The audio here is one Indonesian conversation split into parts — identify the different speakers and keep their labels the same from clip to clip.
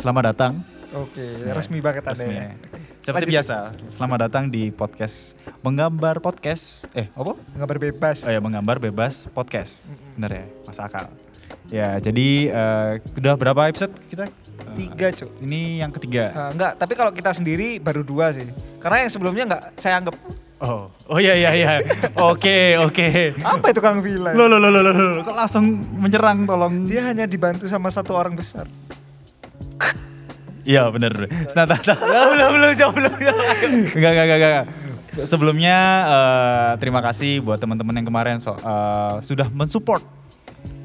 Speaker 1: Selamat datang.
Speaker 2: Oke,
Speaker 1: Ya,
Speaker 2: resmi banget Anda
Speaker 1: resmi
Speaker 2: ya.
Speaker 1: ya. Seperti
Speaker 2: Lanjut.
Speaker 1: biasa, selamat datang di podcast Menggambar Podcast. Eh, apa?
Speaker 2: Ngabar bebas.
Speaker 1: Oh ya, Menggambar Bebas Podcast. Bener ya, Mas Akal. Ya, jadi eh, udah berapa episode kita? Eh,
Speaker 2: Tiga, Cuk.
Speaker 1: Ini yang ketiga.
Speaker 2: Ah, enggak, tapi kalau kita sendiri baru dua sih. Karena yang sebelumnya enggak saya anggap
Speaker 1: Oh, oh iya iya iya. Oke oke.
Speaker 2: apa itu Kang Vila?
Speaker 1: Lo lo lo lo lo, lo. kok langsung menyerang tolong.
Speaker 2: Dia hanya dibantu sama satu orang besar.
Speaker 1: Iya bener. Senata.
Speaker 2: belum belum jauh belum.
Speaker 1: Enggak, enggak, enggak, enggak. Sebelumnya eh, terima kasih buat teman-teman yang kemarin so- eh, sudah mensupport.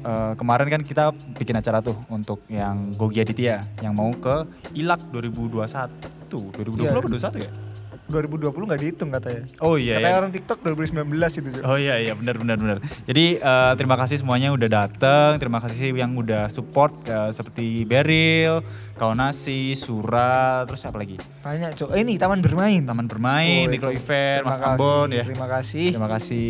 Speaker 1: Eh, kemarin kan kita bikin acara tuh untuk yang Gogi Aditya yang mau ke Ilak 2021. 2020
Speaker 2: Iya.
Speaker 1: apa 2021 ya?
Speaker 2: 2020 nggak dihitung katanya.
Speaker 1: Oh iya. iya.
Speaker 2: katanya orang TikTok 2019 itu. Cuk.
Speaker 1: Oh iya iya benar benar benar. Jadi eh, terima kasih semuanya udah dateng, terima kasih yang udah support eh, seperti Beril, Kaunasi, Sura, terus apa lagi?
Speaker 2: Banyak, Cuk. Eh, ini taman bermain.
Speaker 1: Taman bermain,
Speaker 2: Oh,
Speaker 1: Micro
Speaker 2: itu.
Speaker 1: Event, Mas
Speaker 2: Terima kasih,
Speaker 1: Ambon ya.
Speaker 2: Terima kasih.
Speaker 1: Terima kasih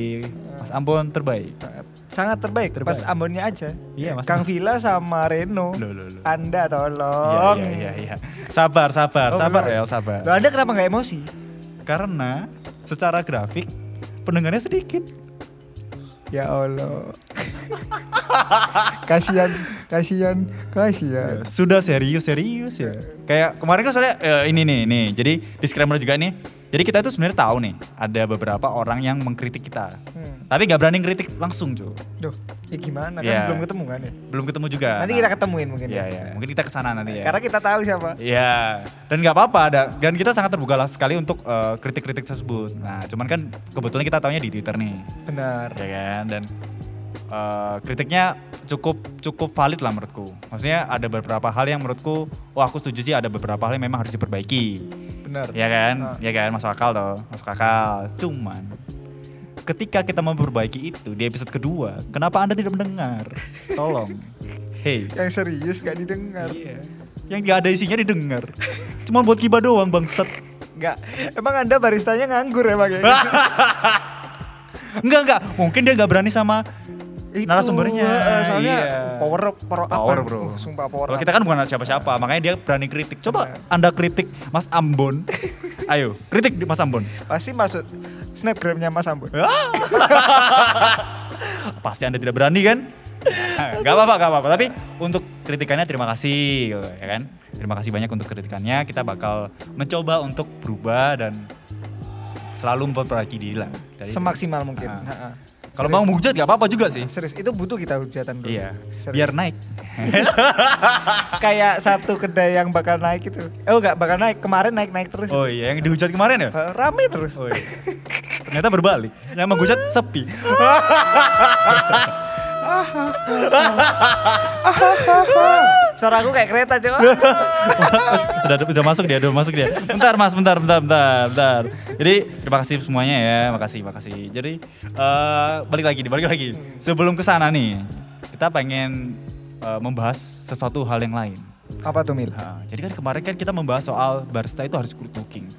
Speaker 1: Mas Ambon terbaik.
Speaker 2: Sangat- Sangat terbaik,
Speaker 1: Terbaik.
Speaker 2: pas Ambonnya aja.
Speaker 1: Iya, Mas.
Speaker 2: Kang Vila sama Reno.
Speaker 1: Loh, loh, loh. Iya
Speaker 2: Anda tolong.
Speaker 1: iya iya iya. Sabar sabar
Speaker 2: Oh,
Speaker 1: sabar
Speaker 2: beneran.
Speaker 1: El sabar.
Speaker 2: Loh, Anda kenapa nggak emosi?
Speaker 1: Karena secara grafik pendengarnya sedikit.
Speaker 2: Ya Allah. kasihan, kasihan, kasihan.
Speaker 1: Sudah serius serius ya. Kayak kemarin kan soalnya eh, ini nih nih. Jadi disclaimer juga nih. Jadi kita itu sebenarnya tahu nih ada beberapa orang yang mengkritik kita.
Speaker 2: Hmm.
Speaker 1: Tapi nggak berani kritik langsung cuy.
Speaker 2: Duh, ya gimana kan
Speaker 1: Iya.
Speaker 2: belum ketemu kan ya?
Speaker 1: Belum ketemu juga.
Speaker 2: Nanti kita ketemuin mungkin.
Speaker 1: Iya
Speaker 2: ya.
Speaker 1: iya. Mungkin kita kesana nanti ya.
Speaker 2: Karena kita tahu siapa.
Speaker 1: Iya, dan nggak apa-apa. ada- Dan kita sangat terbuka lah sekali untuk eh, kritik-kritik tersebut. Nah, cuman kan kebetulan kita taunya di Twitter nih,
Speaker 2: Benar.
Speaker 1: ya kan? Dan eh, kritiknya cukup cukup valid lah menurutku. Maksudnya ada beberapa hal yang menurutku, wah aku setuju sih ada beberapa hal yang memang harus diperbaiki.
Speaker 2: Benar.
Speaker 1: Ya kan? Ya kan? Masuk akal toh, masuk akal. Cuman ketika kita memperbaiki itu di episode kedua, kenapa anda tidak mendengar? Tolong. Hey.
Speaker 2: Yang serius gak didengar.
Speaker 1: Iya. Yang nggak ada isinya didengar. Cuma buat kiba doang bangset.
Speaker 2: Enggak. Emang Anda baristanya nganggur emang ya?
Speaker 1: Ah, Enggak enggak, mungkin dia nggak berani sama
Speaker 2: Itu,
Speaker 1: narasumbernya.
Speaker 2: eh, soalnya
Speaker 1: Iya.
Speaker 2: power up, power up.
Speaker 1: power
Speaker 2: kan?
Speaker 1: bro.
Speaker 2: Uh, sumpah power
Speaker 1: Kalau
Speaker 2: up. Iya.
Speaker 1: kita kan bukan siapa-siapa, makanya dia berani kritik. Coba
Speaker 2: Benar.
Speaker 1: anda kritik Mas Ambon. Ayo, kritik di Mas Ambon.
Speaker 2: Pasti masuk snapgramnya Mas Ambon.
Speaker 1: Ah! Pasti anda tidak berani kan? gak apa-apa, gak apa-apa. Tapi untuk kritikannya terima kasih, ya kan? Terima kasih banyak untuk kritikannya. Kita bakal mencoba untuk berubah dan selalu memperbaiki diri lah. Dari-
Speaker 2: Semaksimal mungkin.
Speaker 1: Ah.
Speaker 2: Ha-ha.
Speaker 1: Kalau
Speaker 2: Serius.
Speaker 1: mau menghujat gak apa-apa juga sih.
Speaker 2: Serius, itu butuh kita hujatan bro.
Speaker 1: Iya,
Speaker 2: Serius.
Speaker 1: biar naik.
Speaker 2: kayak satu kedai yang bakal naik itu. Eh oh, enggak bakal naik. Kemarin naik-naik terus.
Speaker 1: Oh iya, yang dihujat kemarin ya?
Speaker 2: Eh, rame terus.
Speaker 1: Oh iya. Ternyata berbalik. Yang menghujat sepi.
Speaker 2: Suara aku kayak kereta coba.
Speaker 1: Mas, sudah sudah masuk dia, sudah masuk dia. Bentar Mas, bentar, bentar, bentar, bentar. Jadi terima kasih semuanya ya, makasih, makasih. Jadi eh, balik lagi, nih, balik lagi. Sebelum ke sana nih, kita pengen eh, membahas sesuatu hal yang lain.
Speaker 2: Apa tuh Mil?
Speaker 1: Nah, jadi kan kemarin kan kita membahas soal barista itu harus good looking.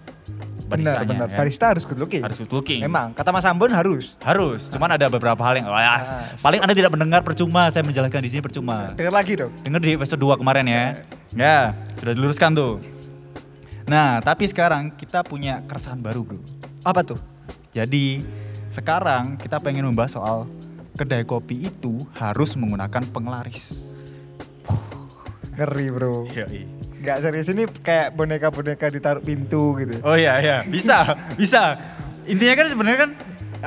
Speaker 2: Benar,
Speaker 1: Baristanya,
Speaker 2: benar.
Speaker 1: kan?
Speaker 2: Barista harus good looking.
Speaker 1: harus good looking.
Speaker 2: Memang, kata Mas Ambon harus.
Speaker 1: Harus, cuman ada beberapa hal yang
Speaker 2: Ah,
Speaker 1: Wah, paling Anda tidak mendengar percuma, saya menjelaskan di sini percuma.
Speaker 2: Dengar lagi dong.
Speaker 1: Dengar di episode 2 kemarin ya. Ya, sudah diluruskan tuh. Nah, tapi sekarang kita punya keresahan baru, Bro.
Speaker 2: Apa tuh?
Speaker 1: Jadi, sekarang kita pengen membahas soal kedai kopi itu harus menggunakan penglaris.
Speaker 2: Ngeri bro.
Speaker 1: Iya,
Speaker 2: Gak serius ini kayak boneka-boneka ditaruh pintu gitu.
Speaker 1: Oh iya iya, bisa, bisa. Intinya kan sebenarnya kan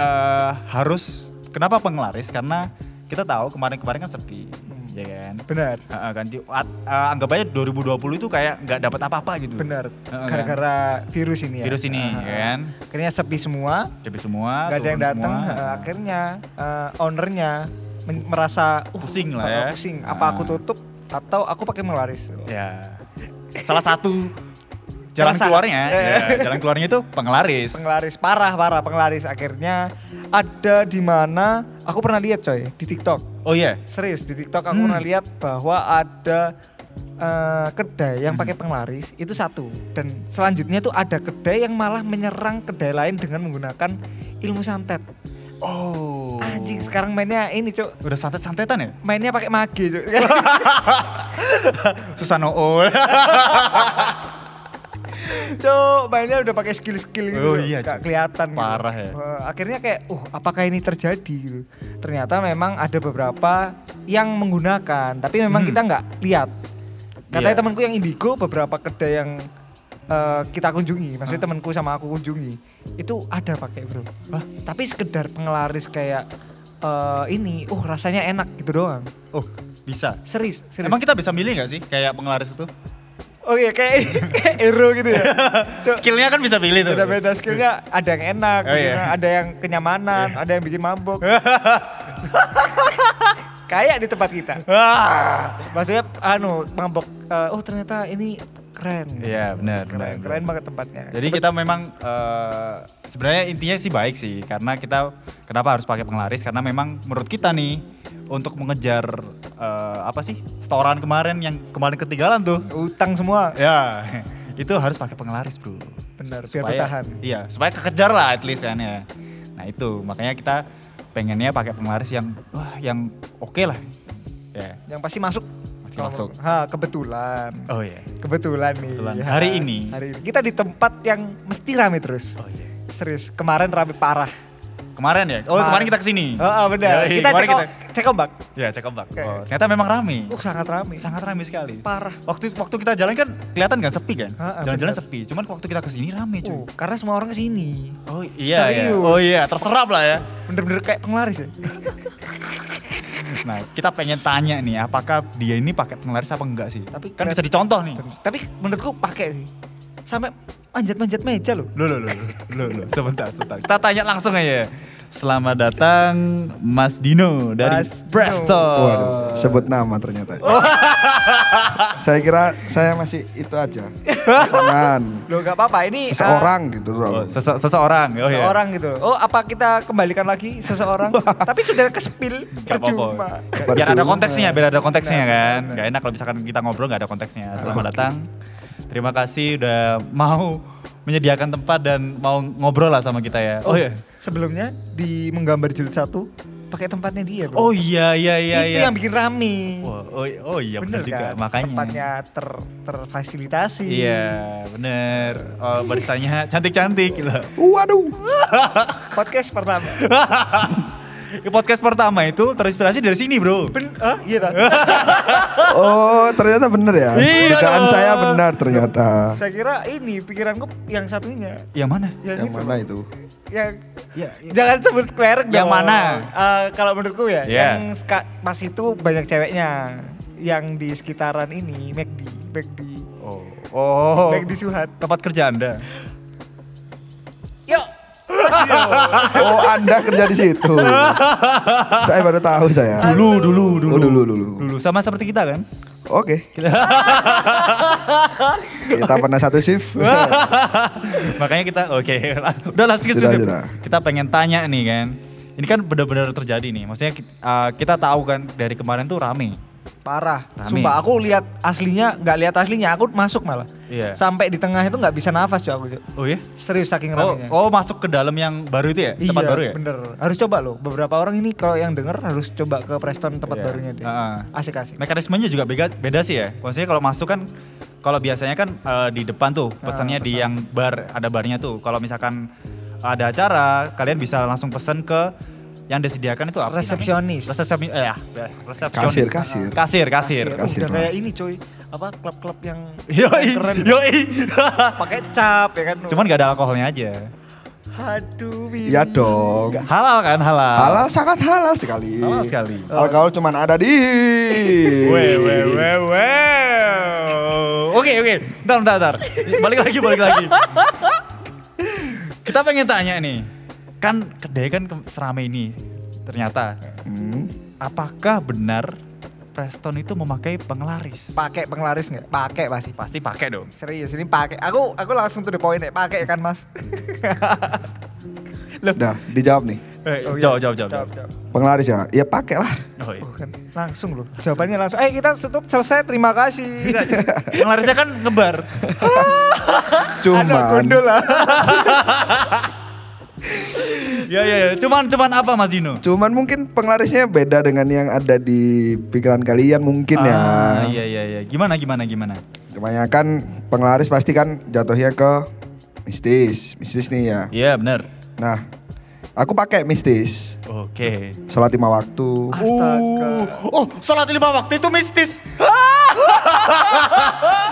Speaker 1: eh, harus kenapa penglaris? Karena kita tahu kemarin-kemarin kan sepi, ya kan?
Speaker 2: Benar.
Speaker 1: Heeh, kan di, at- eh, anggap aja 2020 itu kayak nggak dapat apa-apa gitu.
Speaker 2: Benar.
Speaker 1: Heeh, kan?
Speaker 2: Gara-gara virus ini ya.
Speaker 1: virus ini
Speaker 2: Ah, ah,
Speaker 1: ya
Speaker 2: ah.
Speaker 1: kan.
Speaker 2: Akhirnya sepi semua,
Speaker 1: Jadi semua
Speaker 2: gak ada
Speaker 1: turun
Speaker 2: yang datang.
Speaker 1: semua.
Speaker 2: eh, akhirnya eh, ownernya men- merasa uh,
Speaker 1: Pusing lah ya.
Speaker 2: eh, Pusing. Apa
Speaker 1: Ah.
Speaker 2: aku tutup atau aku pakai melaris?
Speaker 1: ya. Salah satu jalan
Speaker 2: Salah sa-
Speaker 1: keluarnya,
Speaker 2: Eh.
Speaker 1: ya, jalan keluarnya itu penglaris.
Speaker 2: Penglaris parah parah penglaris akhirnya ada di mana aku pernah lihat coy di TikTok.
Speaker 1: Oh iya.
Speaker 2: Serius di TikTok aku
Speaker 1: Hmm.
Speaker 2: pernah lihat bahwa ada eh, kedai
Speaker 1: Hmm.
Speaker 2: yang pakai penglaris itu satu dan selanjutnya tuh ada kedai yang malah menyerang kedai lain dengan menggunakan ilmu santet.
Speaker 1: Oh.
Speaker 2: Anjing sekarang mainnya ini cuk.
Speaker 1: Udah santet-santetan ya?
Speaker 2: Mainnya pakai mage cuk.
Speaker 1: Susano Oul.
Speaker 2: cuk, mainnya udah pakai skill-skill gitu.
Speaker 1: Oh
Speaker 2: Cuk.
Speaker 1: iya,
Speaker 2: Nggak
Speaker 1: Cuk.
Speaker 2: kelihatan. gitu.
Speaker 1: Parah ya.
Speaker 2: Eh, akhirnya kayak, uh apakah ini terjadi gitu. Ternyata memang ada beberapa yang menggunakan, tapi memang
Speaker 1: Hmm.
Speaker 2: kita nggak lihat. Katanya
Speaker 1: Iya.
Speaker 2: temanku yang indigo beberapa kedai yang eh, kita kunjungi, maksudnya temanku sama aku kunjungi, itu ada pakai bro.
Speaker 1: Hah?
Speaker 2: Tapi sekedar penglaris kayak eh, ini, uh rasanya enak gitu doang.
Speaker 1: oh, bisa.
Speaker 2: Serius, serius.
Speaker 1: Emang kita bisa milih nggak sih kayak penglaris itu?
Speaker 2: Oh iya kayak, kayak hero gitu ya. Cuk,
Speaker 1: Skillnya kan bisa milih tuh.
Speaker 2: beda beda skillnya ada yang enak,
Speaker 1: Oh,
Speaker 2: bikin-
Speaker 1: iya.
Speaker 2: ada yang kenyamanan, ada yang bikin mabok. kayak di tempat kita.
Speaker 1: Wah.
Speaker 2: Maksudnya anu mabok. eh, oh ternyata ini keren.
Speaker 1: Iya, benar,
Speaker 2: Keren,
Speaker 1: benar,
Speaker 2: keren banget tempatnya.
Speaker 1: Jadi kita memang eh, sebenarnya intinya sih baik sih karena kita kenapa harus pakai penglaris karena memang menurut kita nih untuk mengejar eh, apa sih setoran kemarin yang kemarin ketinggalan tuh
Speaker 2: Utang semua.
Speaker 1: ya itu harus pakai penglaris bro
Speaker 2: Benar, biar
Speaker 1: Supaya-
Speaker 2: bertahan.
Speaker 1: iya supaya kekejar lah at least kan ya nah itu makanya kita pengennya pakai penglaris yang wah yang oke lah ya
Speaker 2: Yang pasti masuk.
Speaker 1: Pasti
Speaker 2: Kalau-
Speaker 1: masuk.
Speaker 2: Ha, kebetulan.
Speaker 1: oh ya
Speaker 2: Kebetulan nih.
Speaker 1: Kebetulan.
Speaker 2: Ya,
Speaker 1: Hari ini.
Speaker 2: Hari ini. Kita di tempat yang mesti rame terus.
Speaker 1: oh ya
Speaker 2: Serius, kemarin rame parah.
Speaker 1: kemarin ya oh kemarin kita kesini
Speaker 2: Oh, oh benar.
Speaker 1: Yoi,
Speaker 2: kita
Speaker 1: kemarin
Speaker 2: cek, cek ombak.
Speaker 1: ya cek ombak
Speaker 2: Oke.
Speaker 1: oh, ternyata memang rame
Speaker 2: Uh, sangat ramai.
Speaker 1: sangat rame sekali
Speaker 2: Parah.
Speaker 1: waktu waktu kita jalan kan kelihatan kan sepi kan
Speaker 2: Ha, ha,
Speaker 1: jalan-jalan
Speaker 2: benar.
Speaker 1: sepi cuman waktu kita kesini rame cuy
Speaker 2: Uh, karena semua orang kesini.
Speaker 1: oh iya ya.
Speaker 2: Serius.
Speaker 1: oh iya terserap lah ya
Speaker 2: Bener-bener kayak penglaris ya.
Speaker 1: Nah, kita pengen tanya nih, apakah dia ini pakai penglaris apa enggak sih?
Speaker 2: Tapi
Speaker 1: kan
Speaker 2: keliat-
Speaker 1: bisa dicontoh nih.
Speaker 2: Bener. Tapi menurutku pakai sih. Sampai manjat-manjat meja loh.
Speaker 1: Loh, loh, loh, loh, loh, sebentar, sebentar. Kita tanya langsung aja. Selamat datang Mas Dino dari
Speaker 2: Mas Dino.
Speaker 1: Preston.
Speaker 3: Waduh, sebut nama ternyata.
Speaker 1: Oh.
Speaker 3: saya kira saya masih itu aja. Jangan
Speaker 2: Loh nggak apa-apa ini uh,
Speaker 3: seseorang gitu,
Speaker 1: Oh,
Speaker 3: Bro.
Speaker 1: sese- seseorang. Oh, iya.
Speaker 2: seseorang gitu. Oh, apa kita kembalikan lagi seseorang? Tapi sudah kespil
Speaker 1: Gak apa-apa.
Speaker 2: percuma.
Speaker 1: Biar
Speaker 3: Percuma.
Speaker 1: ada konteksnya, biar ada konteksnya
Speaker 2: Benar,
Speaker 1: kan.
Speaker 2: benar.
Speaker 1: Gak enak kalau misalkan kita ngobrol gak ada konteksnya. Selamat datang. Terima kasih udah mau menyediakan tempat dan mau ngobrol lah sama kita ya. Oh iya.
Speaker 2: Sebelumnya di menggambar jilid satu pakai tempatnya dia. bro.
Speaker 1: Oh iya iya iya.
Speaker 2: Itu
Speaker 1: iya.
Speaker 2: yang bikin rame.
Speaker 1: Wah, oh, oh iya benar juga
Speaker 2: kan?
Speaker 1: makanya.
Speaker 2: Tempatnya ter terfasilitasi.
Speaker 1: Iya bener. Oh, baristanya cantik-cantik gitu.
Speaker 3: Waduh.
Speaker 2: Podcast pertama.
Speaker 1: Podcast pertama itu terinspirasi dari sini bro.
Speaker 2: Ben, ah, iya tak?
Speaker 3: Oh, ternyata benar ya.
Speaker 1: Iya
Speaker 3: Dugaan
Speaker 1: dong.
Speaker 3: saya benar ternyata.
Speaker 2: Saya kira ini pikiranku yang satunya.
Speaker 1: Yang mana?
Speaker 2: Yang,
Speaker 3: Yang
Speaker 2: itu.
Speaker 3: mana itu?
Speaker 2: Yang
Speaker 1: Ya,
Speaker 2: jangan sebut merek
Speaker 1: Yang
Speaker 2: dong.
Speaker 1: mana?
Speaker 2: Eh, kalau menurutku ya,
Speaker 1: Iya.
Speaker 2: yang ska- pas itu banyak ceweknya yang di sekitaran ini McD, McD,
Speaker 1: Oh. Oh.
Speaker 2: McD Suhat.
Speaker 1: Tempat kerja anda.
Speaker 2: Yuk. Mas, yuk.
Speaker 3: Oh, Anda kerja di situ. saya baru tahu saya.
Speaker 1: Dulu dulu dulu.
Speaker 3: Oh, dulu, dulu.
Speaker 1: Dulu sama seperti kita kan?
Speaker 3: Oke. Kita pernah satu shift.
Speaker 1: Makanya kita oke lah. udah lah skip, skip,
Speaker 3: Sudah,
Speaker 1: skip.
Speaker 3: sudah.
Speaker 1: Kita pengen tanya nih kan. Ini kan benar-benar terjadi nih. Maksudnya ki- uh, kita tahu kan dari kemarin tuh rame.
Speaker 2: Parah.
Speaker 1: Rame.
Speaker 2: Sumpah aku lihat aslinya, nggak lihat aslinya, aku masuk malah.
Speaker 1: Iya.
Speaker 2: Sampai di tengah itu nggak bisa nafas cuy aku. cuy.
Speaker 1: Oh ya?
Speaker 2: Serius saking
Speaker 1: Oh,
Speaker 2: ramenya.
Speaker 1: oh masuk ke dalam yang baru itu ya? Tempat baru ya?
Speaker 2: Iya, bener. Harus coba loh. Beberapa orang ini kalau yang denger harus coba ke Preston tempat
Speaker 1: Iya.
Speaker 2: barunya deh.
Speaker 1: Heeh.
Speaker 2: Asik-asik.
Speaker 1: mekanismenya juga beda beda sih ya. Maksudnya kalau masuk kan kalau biasanya kan eh, di depan tuh pesannya di yang bar ada barnya tuh. Kalau misalkan ada acara kalian bisa langsung pesan ke yang disediakan itu apa? sih namanya?
Speaker 2: Resepsionis.
Speaker 1: Resepsionis. Eh, ya, resepsionis.
Speaker 3: Kasir, kasir.
Speaker 1: Kasir, kasir.
Speaker 2: Kasir.
Speaker 3: Kasir
Speaker 2: Udah
Speaker 3: lah.
Speaker 2: kayak ini cuy. Apa klub-klub yang
Speaker 1: Yoi,
Speaker 2: yang keren.
Speaker 1: yoi.
Speaker 2: Pakai cap ya kan.
Speaker 1: Cuman gak ada alkoholnya aja.
Speaker 2: aduh Willy.
Speaker 3: Iya dong.
Speaker 1: Halal kan, halal.
Speaker 3: Halal sangat halal sekali.
Speaker 1: Halal sekali.
Speaker 3: Alkohol cuman ada di.
Speaker 1: Weh, weh, weh, weh. Oke, oke. Bentar, bentar, bentar. Balik lagi, balik lagi. Kita pengen tanya nih. Kan kedai kan ke- serame ini ternyata.
Speaker 3: Hmm.
Speaker 1: Apakah benar Preston itu memakai penglaris?
Speaker 2: Pakai penglaris nggak? Pakai pasti.
Speaker 1: Pasti pakai dong.
Speaker 2: Serius ini pakai. Aku aku langsung tuh the point ya. Pakai kan Mas. Loh.
Speaker 3: Nah, dijawab nih.
Speaker 1: Eh,
Speaker 2: iya.
Speaker 1: jawab, jawab, jawab,
Speaker 2: Jawab,
Speaker 1: jawab.
Speaker 2: jawab.
Speaker 3: Penglaris ya? Ya pakailah.
Speaker 1: Oh, iya.
Speaker 2: Oh, kan. Langsung loh. Jawabannya langsung. Eh kita tutup selesai. Terima kasih.
Speaker 1: Iya, Penglarisnya kan ngebar.
Speaker 3: Cuman
Speaker 2: Nah, Aduh, gundul lah.
Speaker 1: Ya ya ya. Cuman cuman apa Mas Dino?
Speaker 3: Cuman mungkin penglarisnya beda dengan yang ada di pikiran kalian mungkin ya.
Speaker 1: Ah, Iya iya iya. Gimana gimana gimana?
Speaker 3: Kebanyakan penglaris pasti kan jatuhnya ke mistis. Mistis nih ya.
Speaker 1: Iya benar.
Speaker 3: Nah, aku pakai mistis.
Speaker 1: Oke.
Speaker 3: Sholat lima waktu.
Speaker 2: Astaga.
Speaker 1: Oh, sholat lima waktu itu mistis.